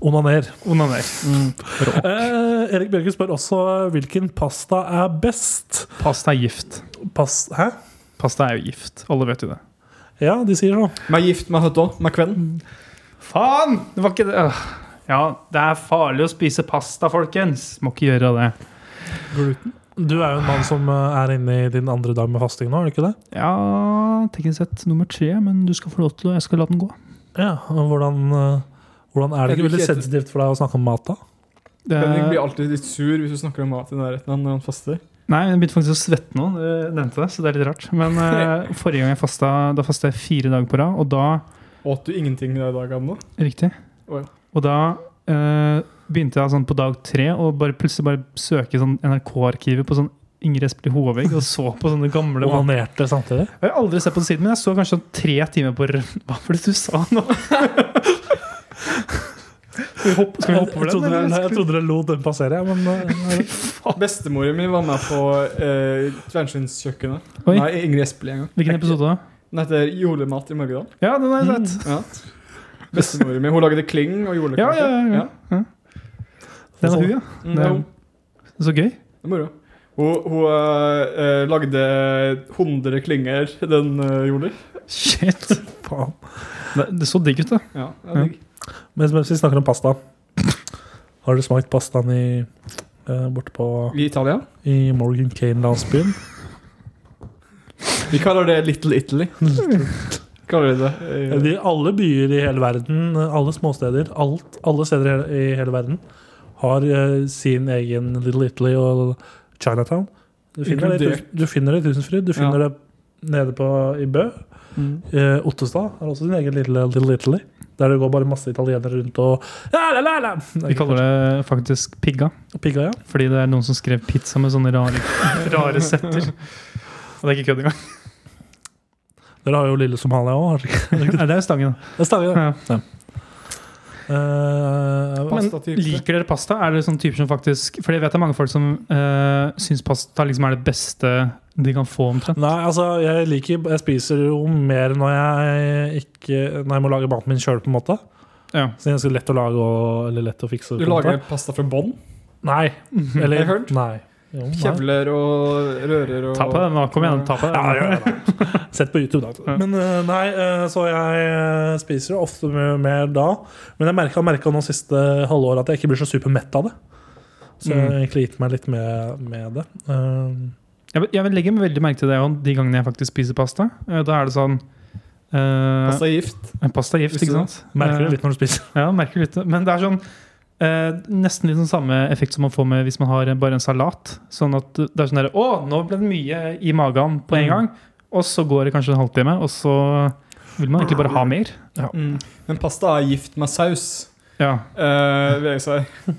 Speaker 3: Onaner.
Speaker 2: Onaner.
Speaker 3: Eh, Erik Bjørge spør også hvilken pasta er best.
Speaker 2: Pasta er gift.
Speaker 3: Pas Hæ?
Speaker 2: Pasta er jo gift. Alle vet jo det.
Speaker 3: Ja, de sier sånn.
Speaker 1: Med gift med høtt òg. Med kvenn.
Speaker 2: Faen! Det var ikke det Øh. Ja, det er farlig å spise pasta, folkens. Må ikke gjøre det.
Speaker 3: Du er jo en mann som eh, er inne i din andre dag med fasting nå, er du ikke det?
Speaker 2: Ja, teknisk sett nummer tre, men du skal få lov til å Jeg skal la den gå.
Speaker 3: Ja, og hvordan, eh, hvordan er
Speaker 1: Er
Speaker 3: det ikke
Speaker 1: du
Speaker 3: veldig
Speaker 1: ikke etter-
Speaker 3: sensitivt for deg å snakke om mat, da?
Speaker 1: Henning blir
Speaker 2: Eh,
Speaker 1: alltid litt sur hvis du snakker om mat i nærheten av han når han faster.
Speaker 2: Nei, jeg begynte faktisk å svette nå. Du nevnte det, så det er litt rart. Men eh, forrige gang jeg fasta, da fasta jeg fire dager på rad, og da
Speaker 1: Åt du ingenting i dag, Anna?
Speaker 2: Riktig.
Speaker 1: Å ja.
Speaker 2: Og da eh, begynte jeg sånn på dag tre og bare plutselig bare søke sånn NRK-arkivet på sånn Ingrid Espelid Håvegg og så på sånne gamle
Speaker 3: Og onanerte samtidig.
Speaker 2: Jeg har aldri sett på den siden min. Jeg så kanskje sånn tre timer på r- Hva var det du sa nå? Skal vi hoppe, skal vi hoppe over
Speaker 3: trodde,
Speaker 2: den?
Speaker 3: dere-
Speaker 2: eller?
Speaker 3: jeg trodde dere lot den passere, jeg, men eh,
Speaker 1: Bestemoren min var med på eh, fjernsynskjøkkenet.
Speaker 2: Oi.
Speaker 1: Nei, Ingrid Espelid en gang.
Speaker 2: Hvilken episode da?
Speaker 1: Den heter Julemat i Mørkedal.
Speaker 2: Ja, den har jeg
Speaker 3: Mm.
Speaker 2: sett.
Speaker 1: Ja. Bestemoren min. Hun lagde kling og
Speaker 2: Ja,
Speaker 1: julekake.
Speaker 2: ja, ja, ja. Den er hun, ja.
Speaker 1: Mm, det er hun.
Speaker 2: Så gøy.
Speaker 1: Det er moro. Hun, hun eh, lagde 100 klinger den eh, jula.
Speaker 2: Shit.
Speaker 3: faen.
Speaker 2: Det, det så digg ut, da.
Speaker 1: Ja, det er digg.
Speaker 3: Mens, mens vi snakker om pasta Har du smakt pastaen i eh, borte på
Speaker 1: I Italia.
Speaker 3: I Morgan Kane-landsbyen?
Speaker 1: Vi kaller det Little Italy. Kaller de det. eh,
Speaker 3: I alle byer i hele verden, alle småsteder, alt, alle steder i hele- i hele verden har eh, sin egen Little Italy og Chinatown. Du finner, det, i Tus- du finner det i Tusenfryd, du finner det nede på, i Bø.
Speaker 1: Mm.
Speaker 3: Eh, Ottestad har også sin egen lille Little Italy. Der det går bare masse italienere rundt og la, la, la, la.
Speaker 2: Vi kaller det faktisk pigga.
Speaker 3: Pigga, ja.
Speaker 2: Fordi det er noen som skrev pizza med sånne rare, rare setter. Og det er ikke kødd engang.
Speaker 3: Dere har jo Lille Somalia òg.
Speaker 2: Nei, det er Stangen.
Speaker 3: Det stemmer.
Speaker 2: Ja.
Speaker 3: Eh, men-
Speaker 1: Pastatype.
Speaker 2: Liker dere pasta? Er det sånn type som faktisk Fordi jeg vet det er mange folk som uh, syns pasta liksom er det beste de kan få, omtrent.
Speaker 3: Nei, altså, jeg liker Jeg spiser jo mer når jeg ikke Når jeg må lage maten min sjøl, på en måte.
Speaker 2: Ja.
Speaker 3: Så det er ganske lett å lage og Eller lett å fikse.
Speaker 1: Du lager pasta fra bånn.
Speaker 3: Nei. Eller
Speaker 1: Jeg har hørt.
Speaker 3: Nei. Jo, nei.
Speaker 1: Kjevler og rører og
Speaker 2: Ta på den, da. Kom igjen. ta på den
Speaker 3: Ja, ja, ja. Sett på YouTube, da.
Speaker 2: Ja.
Speaker 3: Men eh, nei, eh, så jeg eh, spiser jo ofte mye mer da. Men jeg merka, merka nå siste halvåret at jeg ikke blir så supermett av det. Så jeg har
Speaker 1: Mm.
Speaker 3: egentlig gitt meg litt med, med det. Eh,
Speaker 2: Jeg, jeg vil legge veldig merke til det også, de gangene jeg faktisk spiser pasta. Eh, da er det sånn eh,
Speaker 1: Pasta er gift.
Speaker 2: Pasta er gift,
Speaker 1: Visste du
Speaker 2: ikke sant?
Speaker 3: merker
Speaker 2: Eh,
Speaker 3: det litt når du spiser.
Speaker 2: Ja, merker litt. Men det er sånn eh, nesten litt sånn samme effekt som man får med hvis man har eh, bare en salat. Sånn at det er sånn der, Å, nå ble det mye i magen på en
Speaker 3: Mm.
Speaker 2: gang. Og så går det kanskje en halvtime, og så vil man egentlig bare ha mer.
Speaker 1: Mm. Men pasta er gift med saus,
Speaker 2: Ja.
Speaker 1: eh, vil jeg si.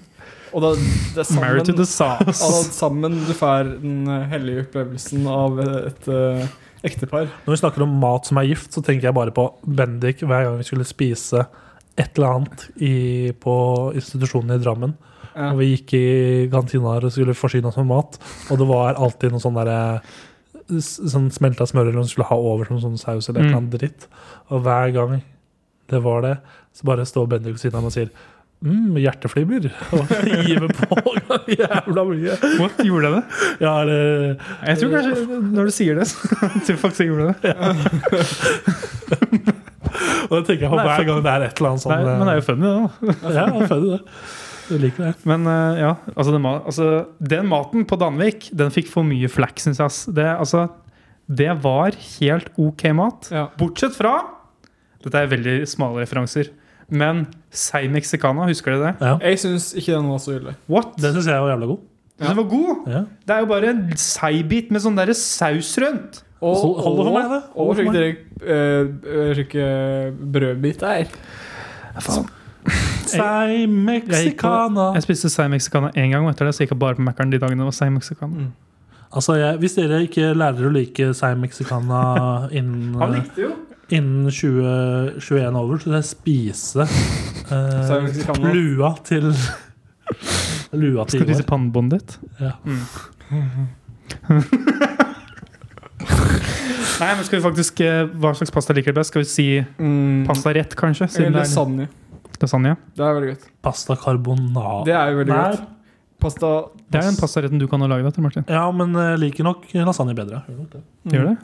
Speaker 1: Og da, det er
Speaker 2: Married to
Speaker 1: sammen,
Speaker 2: the sauce.
Speaker 1: altså, sammen du får den eh, hellige opplevelsen av et eh, ektepar.
Speaker 3: Når vi snakker om mat som er gift, så tenker jeg bare på Bendik hver gang vi skulle spise et eller annet i, på institusjonen i Drammen.
Speaker 1: Ja.
Speaker 3: Og vi gikk i kantina her og skulle forsyne oss med mat, og det var alltid noe sånn derre s- Sånn smelta smør eller noe vi skulle ha over som sånn saus eller et
Speaker 2: Mm.
Speaker 3: eller annet dritt. Og hver gang det var det, så bare står Bendik ved siden av meg og sier mm, hjerteflimmer. Og gir meg på jævla mye.
Speaker 2: What, gjorde jeg det?
Speaker 3: Ja, eller
Speaker 2: Jeg tror kanskje når du sier det, så jeg tror faktisk jeg gjorde det.
Speaker 3: Og det tenker jeg på
Speaker 2: Nei,
Speaker 3: hver
Speaker 2: for-
Speaker 3: gang det er et eller annet sånn
Speaker 2: Nei, men det er jo funny, det. da.
Speaker 3: Ja, jeg er født i det. Jeg liker det.
Speaker 2: Men eh, ja, altså den, ma altså den maten på Danvik, den fikk for mye flak, syns jeg. ass. Det, altså, det var helt ok mat.
Speaker 1: Ja.
Speaker 2: Bortsett fra Dette er veldig smale referanser. Men seig mexicana, husker dere det?
Speaker 1: Jeg syns ikke den var så ille.
Speaker 2: What?
Speaker 3: Den syns jeg var jævla god.
Speaker 2: Den var god!
Speaker 3: Ja.
Speaker 2: Det er jo bare en seigbit med sånn derre saus rundt.
Speaker 1: Og,
Speaker 3: Hold- hold det for meg, da.
Speaker 1: Og
Speaker 3: Hold det for
Speaker 1: slik dere Slike brødbit der.
Speaker 3: Sei mexicana.
Speaker 2: Jeg spiste seig mexicana én gang, og etter det så gikk jeg bare på Mækkern de dagene det var seig mexicana.
Speaker 3: Altså, jeg, hvis dere ikke lærer å like sei mexicana innen,
Speaker 2: likte jo.
Speaker 3: innen 2021 over, så skal jeg spise
Speaker 1: Sei
Speaker 3: eh,
Speaker 1: mexicana.
Speaker 3: lua til Lua til
Speaker 2: Skal du
Speaker 3: Ivar.
Speaker 2: si pannebåndet ditt?
Speaker 3: Ja.
Speaker 2: Mm. Nei, men skal vi faktisk eh, Hva slags pasta liker du best? Skal vi si
Speaker 1: Mm.
Speaker 2: pasta rett, kanskje? Siden det er
Speaker 1: Lasagne.
Speaker 2: lasagne.
Speaker 1: Det er veldig godt.
Speaker 3: Pasta carbonara.
Speaker 1: Det er jo veldig
Speaker 3: Nei.
Speaker 1: godt. Pasta
Speaker 2: Det er den pastaretten du kan ha laget etter, Martin.
Speaker 3: Ja, men eh, jeg liker nok lasagne bedre. Gjør nok det.
Speaker 2: Gjør det?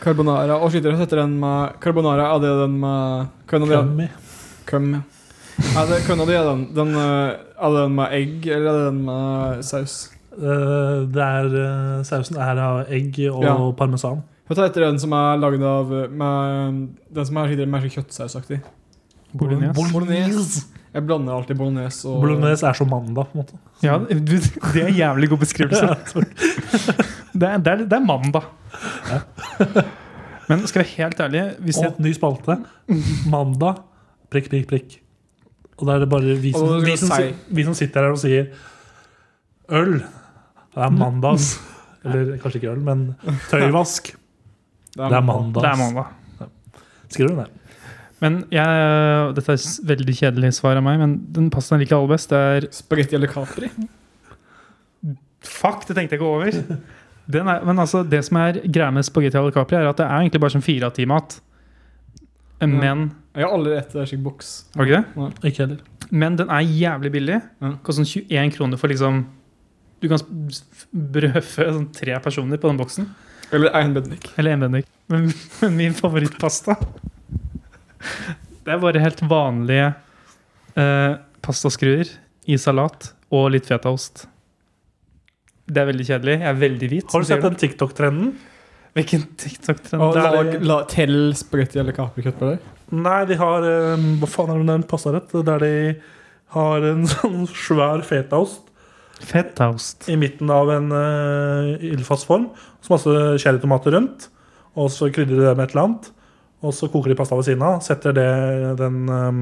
Speaker 1: Carbonara. Og skyter heter den med Carbonara er det den med Kønna di
Speaker 3: Crummy.
Speaker 1: Køm. Er det kønna di er den, den eh, Er det den med egg, eller er det den med saus?
Speaker 3: Eh, det er, eh, sausen er av egg og
Speaker 1: Ja.
Speaker 3: parmesan.
Speaker 1: Hva heter den som er lagd av eh, med, Den som er skikkelig mer sånn kjøttsausaktig?
Speaker 2: Bolognese.
Speaker 1: Bolognese. Jeg blander alltid bolognes og
Speaker 3: Bolognese er som mandag, på en måte.
Speaker 2: Ja, du, det er en jævlig god beskrivelse. Det er, det er, det er mandag. Men skal jeg være helt ærlig hvis jeg,
Speaker 3: Og ny spalte. Mandag prikk, prikk, prikk. Og da er det bare vi som,
Speaker 1: Og da skal
Speaker 3: vi som,
Speaker 1: jeg
Speaker 3: si- vi som sitter her og sier øl. Det er mandags. Eller kanskje ikke øl, men tøyvask. Det er mandags.
Speaker 2: Det er mandag.
Speaker 3: Skriver du det?
Speaker 2: Men jeg, eh, Dette er s- veldig kjedelig svar av meg, men den passer like aller best. Det er
Speaker 1: Spagetti eller capri?
Speaker 2: Fuck, det tenkte jeg ikke over! Den er, men altså, det som er greia med spagetti à la Capri, er at det er egentlig bare som fire av ti mat. Men
Speaker 1: Jeg har aldri spist slik boks.
Speaker 2: Var det ikke det?
Speaker 3: Ikke heller.
Speaker 2: Men den er jævlig billig.
Speaker 1: Ja.
Speaker 2: Koster sånn 21 kroner for liksom Du kan s- brødfø sånn tre personer på den boksen.
Speaker 1: Eller einbednik.
Speaker 2: Eller enbendik. Men, men min favorittpasta Det er bare helt vanlige eh, pastaskruer i salat og litt fetaost. Det er veldig kjedelig. Jeg er veldig hvit.
Speaker 3: Har du
Speaker 2: som
Speaker 3: sett
Speaker 2: sier
Speaker 3: den TikTok-trenden?
Speaker 2: det. Hvilken TikTok-trend?
Speaker 3: Og
Speaker 2: Det er
Speaker 1: Lag,
Speaker 2: det-
Speaker 1: la, tell spagetti eller capri-kjøtt på deg.
Speaker 3: Nei, de har eh, Hva faen er det den passarett? Der de har en sånn svær fetaost
Speaker 2: Fetaost.
Speaker 3: i midten av en eh, ildfast form. Så masse cherrytomater rundt. Og så krydrer de det med et eller annet. Og så koker de pasta ved siden av. Setter det, den eh,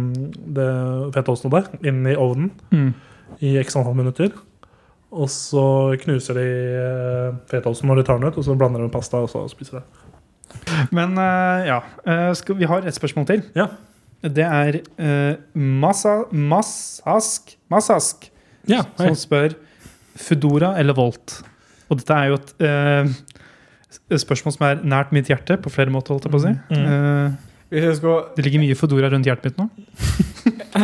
Speaker 3: det fetaosten der inn i ovnen
Speaker 2: Mm.
Speaker 3: i x antall minutter. Og så knuser de eh, fetaosten når de tar den ut, og så blander de med pasta og så spiser de.
Speaker 2: Men eh, ja. Eh, skal, vi har et spørsmål til.
Speaker 3: Ja.
Speaker 2: Det er eh, massa, Massask Massask
Speaker 3: Ja,
Speaker 2: som spør Foodora eller Volt. Og dette er jo et eh, s- spørsmål som er nært mitt hjerte på flere måter. holdt jeg på å si. Eh,
Speaker 1: Hvis jeg skal
Speaker 2: det ligger mye Foodora rundt hjertet mitt nå.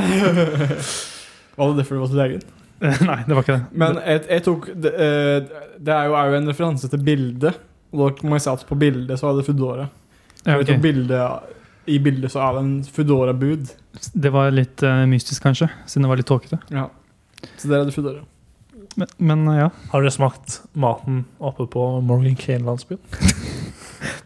Speaker 1: Var det derfor du var til legen?
Speaker 2: Eh, Nei, det var ikke det.
Speaker 1: Men jeg, jeg tok det, eh, det er jo er jo en referanse til bildet. Og da må jeg si at på bildet så er det Foodora.
Speaker 2: Ja,
Speaker 1: Jeg
Speaker 2: ok.
Speaker 1: tok bildet, I bildet så er det en Foodora-bud.
Speaker 2: Det var litt eh, mystisk, kanskje, siden det var litt tåkete.
Speaker 1: Ja. Så der er det Foodora.
Speaker 2: Men, men eh, ja.
Speaker 3: Har dere smakt maten oppe på Morgan Kane-landsbyen?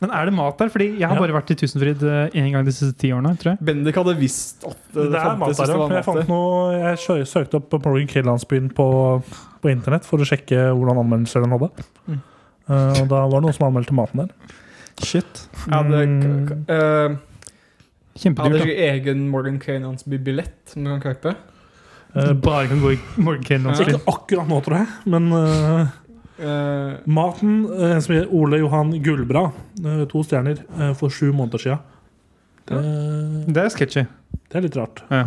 Speaker 2: Men er det mat der? Fordi jeg har
Speaker 3: Ja.
Speaker 2: bare vært i Tusenfryd eh, én gang de siste ti årene. tror jeg.
Speaker 1: Bendik hadde visst at
Speaker 3: Det,
Speaker 1: det,
Speaker 3: er mat
Speaker 1: fantes hvis
Speaker 3: der,
Speaker 1: det
Speaker 3: ja.
Speaker 1: var
Speaker 3: Jeg,
Speaker 1: mat
Speaker 3: fant
Speaker 1: der.
Speaker 3: noe, jeg sø- søkte opp Morgan Kane-landsbyen på, på internett for å sjekke hvordan anmeldelser den hadde.
Speaker 1: Mm.
Speaker 3: Eh, og da var det noen som anmeldte maten der.
Speaker 2: Shit.
Speaker 1: Ja, det,
Speaker 3: Mm.
Speaker 1: k- k- eh, jeg hadde
Speaker 2: Kjempedyrt. da.
Speaker 1: ikke egen Morgan Kane-billett som du kan kjøpe.
Speaker 3: Eh,
Speaker 2: Du bare kan gå i Morgan Kane-landsbyen.
Speaker 3: ikke akkurat nå, tror jeg, men eh,
Speaker 1: Eh,
Speaker 3: maten eh, En som heter Ole Johan Gullbra, eh, to stjerner, eh, for sju måneder Eh, sia. Det,
Speaker 2: Det er sketchy.
Speaker 3: det er litt rart.
Speaker 2: Ja.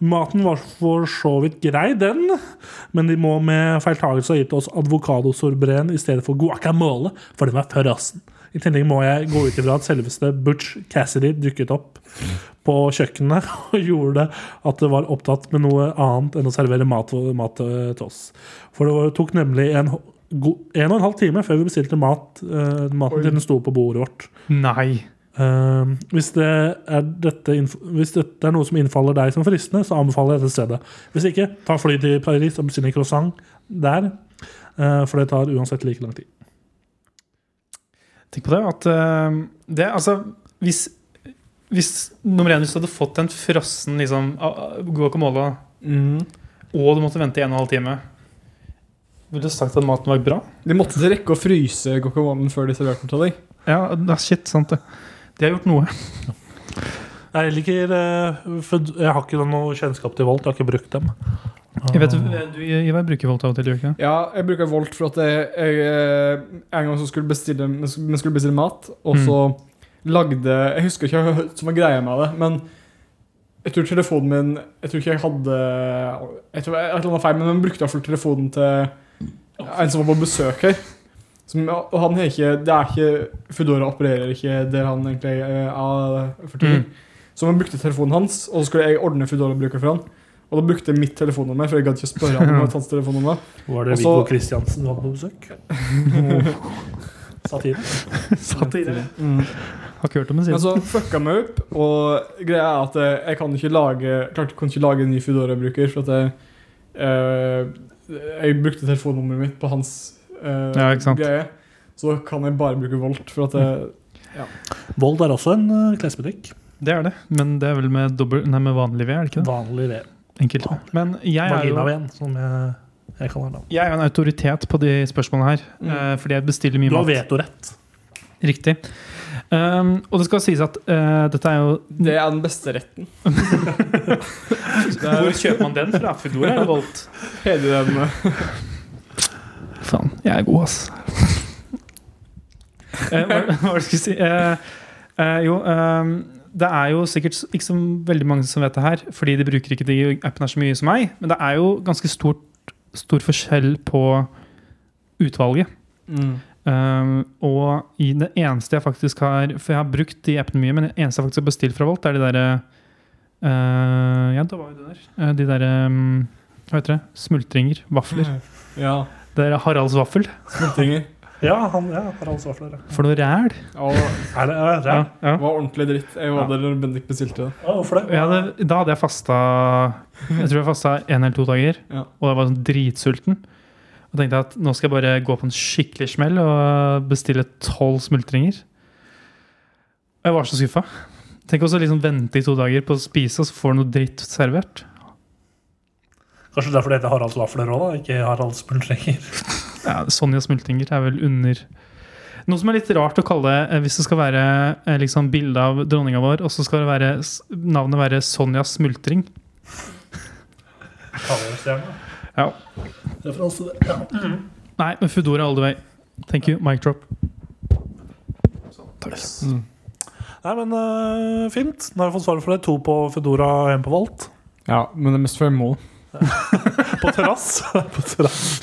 Speaker 3: Maten var for så vidt grei, den, men de må med feiltagelse ha gitt oss avokadosorbren i stedet for guacamole, for den var for rassen. I tillegg må jeg gå ut ifra at selveste Butch Cassidy dukket opp på kjøkkenet og gjorde at det var opptatt med noe annet enn å servere mat, mat til oss. For det var- tok nemlig en, go- en og en halv time før vi bestilte mat, eh, maten
Speaker 1: Oi.
Speaker 3: til den sto på bordet vårt.
Speaker 2: Nei.
Speaker 3: Ehm, hvis, det er dette inf hvis dette er noe som innfaller deg som fristende, så anbefaler jeg dette stedet. Hvis ikke, ta fly til Paris og bestill en croissant der. eh, for det tar uansett like lang tid.
Speaker 2: Tenk på det at eh, det, altså, hvis, hvis nummer én, hvis du hadde fått en frossen liksom, a- a- guacamole,
Speaker 1: mm.
Speaker 2: og du måtte vente en og en halv time Ville du sagt at maten var bra?
Speaker 1: De måtte ikke rekke å fryse guacamolen før de serverte den til deg.
Speaker 2: Ja, da- shit, sant det. De har gjort noe.
Speaker 3: Jeg liker eh, food- Jeg har ikke noe kjennskap til Volt, jeg har ikke brukt dem. Eh,
Speaker 2: Jeg vet, du Ivar bruker Volt av og til, gjør du ikke det?
Speaker 1: Ja, jeg bruker Volt for at jeg, jeg eh, en gang så skulle bestille, vi skulle vi skulle bestille mat, og så lagde Jeg husker ikke hva som var greia med det, men jeg tror telefonen min Jeg tror ikke jeg hadde Jeg tror jeg, et eller annet feil, men den brukte iallfall telefonen til en som var på besøk her. Som, og han er ikke Det er ikke Foodora opererer ikke der han egentlig eh, er for tiden. Så man brukte telefonen hans, og så skulle jeg ordne Foodora-bruker for han. Og da brukte jeg mitt telefonnummer, for jeg gadd ikke spørre han om hans telefonnummer.
Speaker 3: Var
Speaker 1: Viggo
Speaker 3: det
Speaker 2: Altså-
Speaker 3: Viggo Kristiansen du hadde på besøk? Satire.
Speaker 2: Satire.
Speaker 1: Mm.
Speaker 2: Har ikke hørt om det
Speaker 1: Men
Speaker 2: siden.
Speaker 1: så fucka meg opp, og greia er at eh, jeg kan ikke lage Klarte kunne ikke lage en ny Foodora-bruker, for at jeg eh, Jeg brukte telefonnummeret mitt på hans eh,
Speaker 2: Ja, ikke sant.
Speaker 1: greie. Så kan jeg bare bruke Volt, for at jeg,
Speaker 3: Volt er også en eh, klesbutikk.
Speaker 2: Det er det, men det er vel med, dobbel, nei, med vanlig ved, er det ikke det?
Speaker 3: Vanlig ved.
Speaker 2: enkelte. Men jeg er jo
Speaker 3: Vaginaven, som jeg, jeg kaller den.
Speaker 2: jeg er jo en autoritet på de spørsmålene her, eh, fordi jeg bestiller mye
Speaker 3: Du har
Speaker 2: mat.
Speaker 3: vetorett.
Speaker 2: Riktig. Um, og det skal sies at eh, dette er jo
Speaker 1: Mm. Det er den beste retten.
Speaker 2: Hvor kjøper man den fra? Foodora eller Volt?
Speaker 1: Hele den eh,
Speaker 2: Faen, jeg er god, ass. Eh, hva, hva var det jeg skulle si? Eh, eh, jo, ehm, det er jo sikkert s- ikke så veldig mange som vet det her, fordi de bruker ikke de appene her så mye som meg, men det er jo ganske stort, stor forskjell på utvalget.
Speaker 1: Mm.
Speaker 2: Ehm, og i det eneste jeg faktisk har For jeg har brukt de appene mye, men det eneste jeg faktisk har bestilt fra Volt, er de derre eh, Ja, det var jo det der. Eh, de derre ehm, Hva heter det? Smultringer. Vafler.
Speaker 1: Ja.
Speaker 2: Det er Haralds vaffel.
Speaker 1: Småttinger.
Speaker 3: Ja, han ja, har ansvar for det.
Speaker 2: For noe ræl.
Speaker 1: Og det
Speaker 3: Er det er det?
Speaker 2: Ja, ja.
Speaker 1: var ordentlig dritt. Jeg var der når Bendik bestilte det.
Speaker 3: Ja, hvorfor det?
Speaker 2: Jeg hadde, da hadde jeg fasta Jeg tror jeg fasta én eller to dager,
Speaker 1: Ja.
Speaker 2: og jeg var sånn dritsulten. Og tenkte jeg at nå skal jeg bare gå på en skikkelig smell og bestille tolv smultringer. Og jeg var så skuffa. Tenk også liksom vente i to dager på å spise, og så får du noe dritt servert.
Speaker 3: Kanskje derfor det heter Haralds vafler òg, ikke Haralds pultrenger.
Speaker 2: Ja, Sonja smultringer er vel under Noe som er litt rart å kalle det, eh, hvis det skal være eh, liksom bilde av dronninga vår, og så skal det være, s- navnet være Sonja smultring.
Speaker 3: Kaviarstjerne.
Speaker 2: Ja.
Speaker 3: Referanse det. Ja.
Speaker 2: Nei, men Foodora all the way. Thank you. Mic drop.
Speaker 3: Nei, men øh, fint. Nå har jeg fått svaret for det. To på Foodora og én på Volt.
Speaker 1: Ja, men det er mest for mål.
Speaker 3: På terrass. på terrass.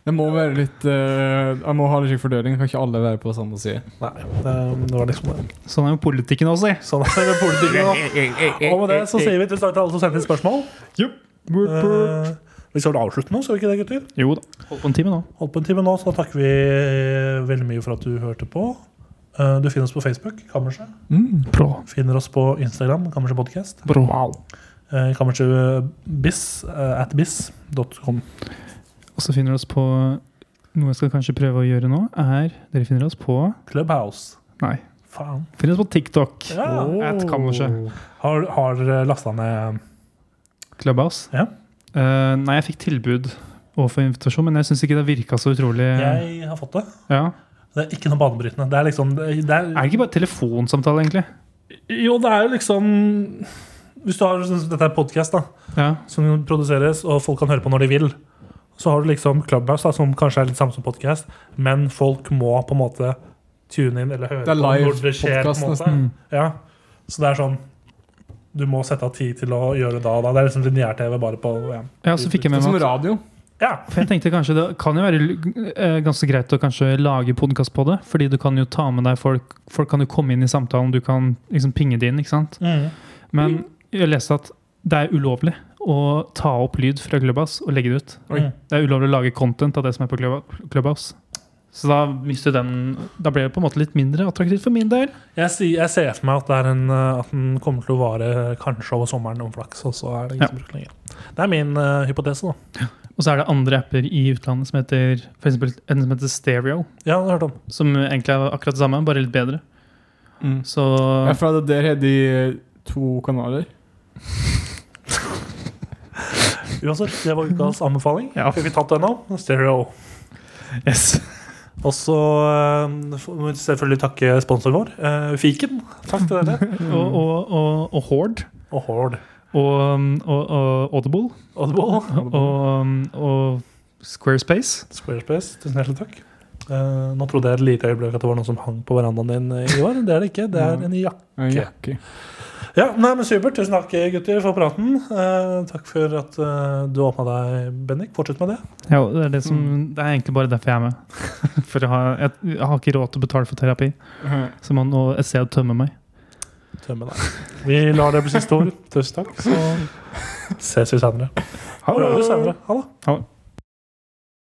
Speaker 1: Det må være litt eh, Jeg må ha litt slik fordeling. Kan ikke alle være på samme side?
Speaker 3: Nei, det, det var liksom det.
Speaker 2: Sånn er jo politikken også, si.
Speaker 3: Sånn er det med politikken. da. Og med det så sier vi til takk til alle som sendte inn spørsmål. Eh, vi skal vel avslutte nå, skal vi ikke det, gutter?
Speaker 2: Jo da. Holdt på en time nå.
Speaker 3: Holdt på en time nå, så da takker vi eh, veldig mye for at du hørte på. Eh, Du finner oss på Facebook, Kammerset.
Speaker 2: Bra.
Speaker 3: Finner oss på Instagram, Kammerset Podcast.
Speaker 2: Bra.
Speaker 3: Eh, Kammerset bis, eh, at bis.com.
Speaker 2: Og så finner dere oss på Noe jeg skal kanskje prøve å gjøre nå, er Dere finner oss på
Speaker 3: Clubhouse.
Speaker 2: Nei.
Speaker 3: Faen.
Speaker 2: Finner oss på TikTok.
Speaker 3: Ja.
Speaker 2: At kammerset.
Speaker 3: Har, har dere lasta ned
Speaker 2: Clubhouse.
Speaker 3: Ja.
Speaker 2: Eh, nei, jeg fikk tilbud overfor invitasjon, men jeg syns ikke det virka så utrolig
Speaker 3: Jeg har fått det.
Speaker 2: ja.
Speaker 3: Det er ikke noe banebrytende. Det er liksom det er,
Speaker 2: Er det ikke bare telefonsamtale, egentlig?
Speaker 3: Jo, det er jo liksom Hvis du har sånn som Dette er podkast, da.
Speaker 2: Ja.
Speaker 3: som produseres, og folk kan høre på når de vil. Så har du liksom Clubhouse, da, som kanskje er litt samme som podkast, men folk må på en måte tune inn eller høre
Speaker 1: Det er
Speaker 3: på
Speaker 1: live
Speaker 3: når det skjer. på
Speaker 1: podcast
Speaker 3: en måte.
Speaker 2: nesten.
Speaker 3: Ja. Så det er sånn Du må sette av tid til å gjøre det da og da. Det er liksom lineær-TV bare på ja.
Speaker 2: ja, så fikk jeg
Speaker 1: Det
Speaker 2: med
Speaker 1: er som
Speaker 2: meg at-
Speaker 1: radio.
Speaker 3: ja.
Speaker 2: For jeg tenkte kanskje Det kan jo være l- eh, ganske greit å kanskje lage podkast på det. Fordi du kan jo ta med deg folk. Folk kan jo komme inn i samtalen. Du kan liksom pinge det inn. ikke sant?
Speaker 3: Mm.
Speaker 2: Men jeg leste at det er ulovlig å ta opp lyd fra Clubhouse og legge det ut.
Speaker 1: Oi.
Speaker 3: Mm.
Speaker 2: Det er ulovlig å lage content av det som er på Club- Clubhouse. Så da mister den Da ble det på en måte litt mindre attraktivt for min del.
Speaker 3: Jeg, sier- jeg ser for meg at, det er en, eh, at den kommer til å vare eh, kanskje over sommeren om flaks, og så er det ingen
Speaker 2: Ja.
Speaker 3: som bruker den lenger. Det er min eh, hypotese, da.
Speaker 2: Og så er det andre apper i utlandet som heter for eksempel en som heter Stereo.
Speaker 3: Ja, det har jeg hørt om.
Speaker 2: Som egentlig er akkurat det samme, bare litt bedre.
Speaker 1: Mm.
Speaker 2: Så
Speaker 1: Ja, for det der har de to kanaler.
Speaker 3: Uansett, det var ukas anbefaling.
Speaker 2: Ja.
Speaker 3: Fikk vi tatt den nå? Stereo.
Speaker 2: yes.
Speaker 3: Og så eh, får vi selvfølgelig takke sponsoren vår, eh, Fiken. Takk til dere.
Speaker 2: og, og, og, og Horde
Speaker 3: Og Hord.
Speaker 2: og, og, og Audible
Speaker 3: Audible.
Speaker 2: og, og Squarespace.
Speaker 3: Squarespace. Tusen hjertelig takk. Eh, nå trodde jeg et lite øyeblikk at det var noen som hang på verandaen din eh, i år. Det er det ikke. Det er en jakke.
Speaker 1: En
Speaker 3: Ok.
Speaker 1: jakke.
Speaker 3: Ja, nei, men Supert. Tusen takk, gutter, for praten. Eh, takk for at eh, du åpna deg, Bendik. Fortsett med det.
Speaker 2: Ja, det, er det, som, det er egentlig bare derfor jeg er med. For jeg har, jeg, jeg har ikke råd til å betale for terapi, så man må et sted å tømme meg.
Speaker 3: Tømme deg. Vi lar det bli siste ord. Tusen takk. Så ses vi senere. Høres senere. Ha det.
Speaker 2: Ha det.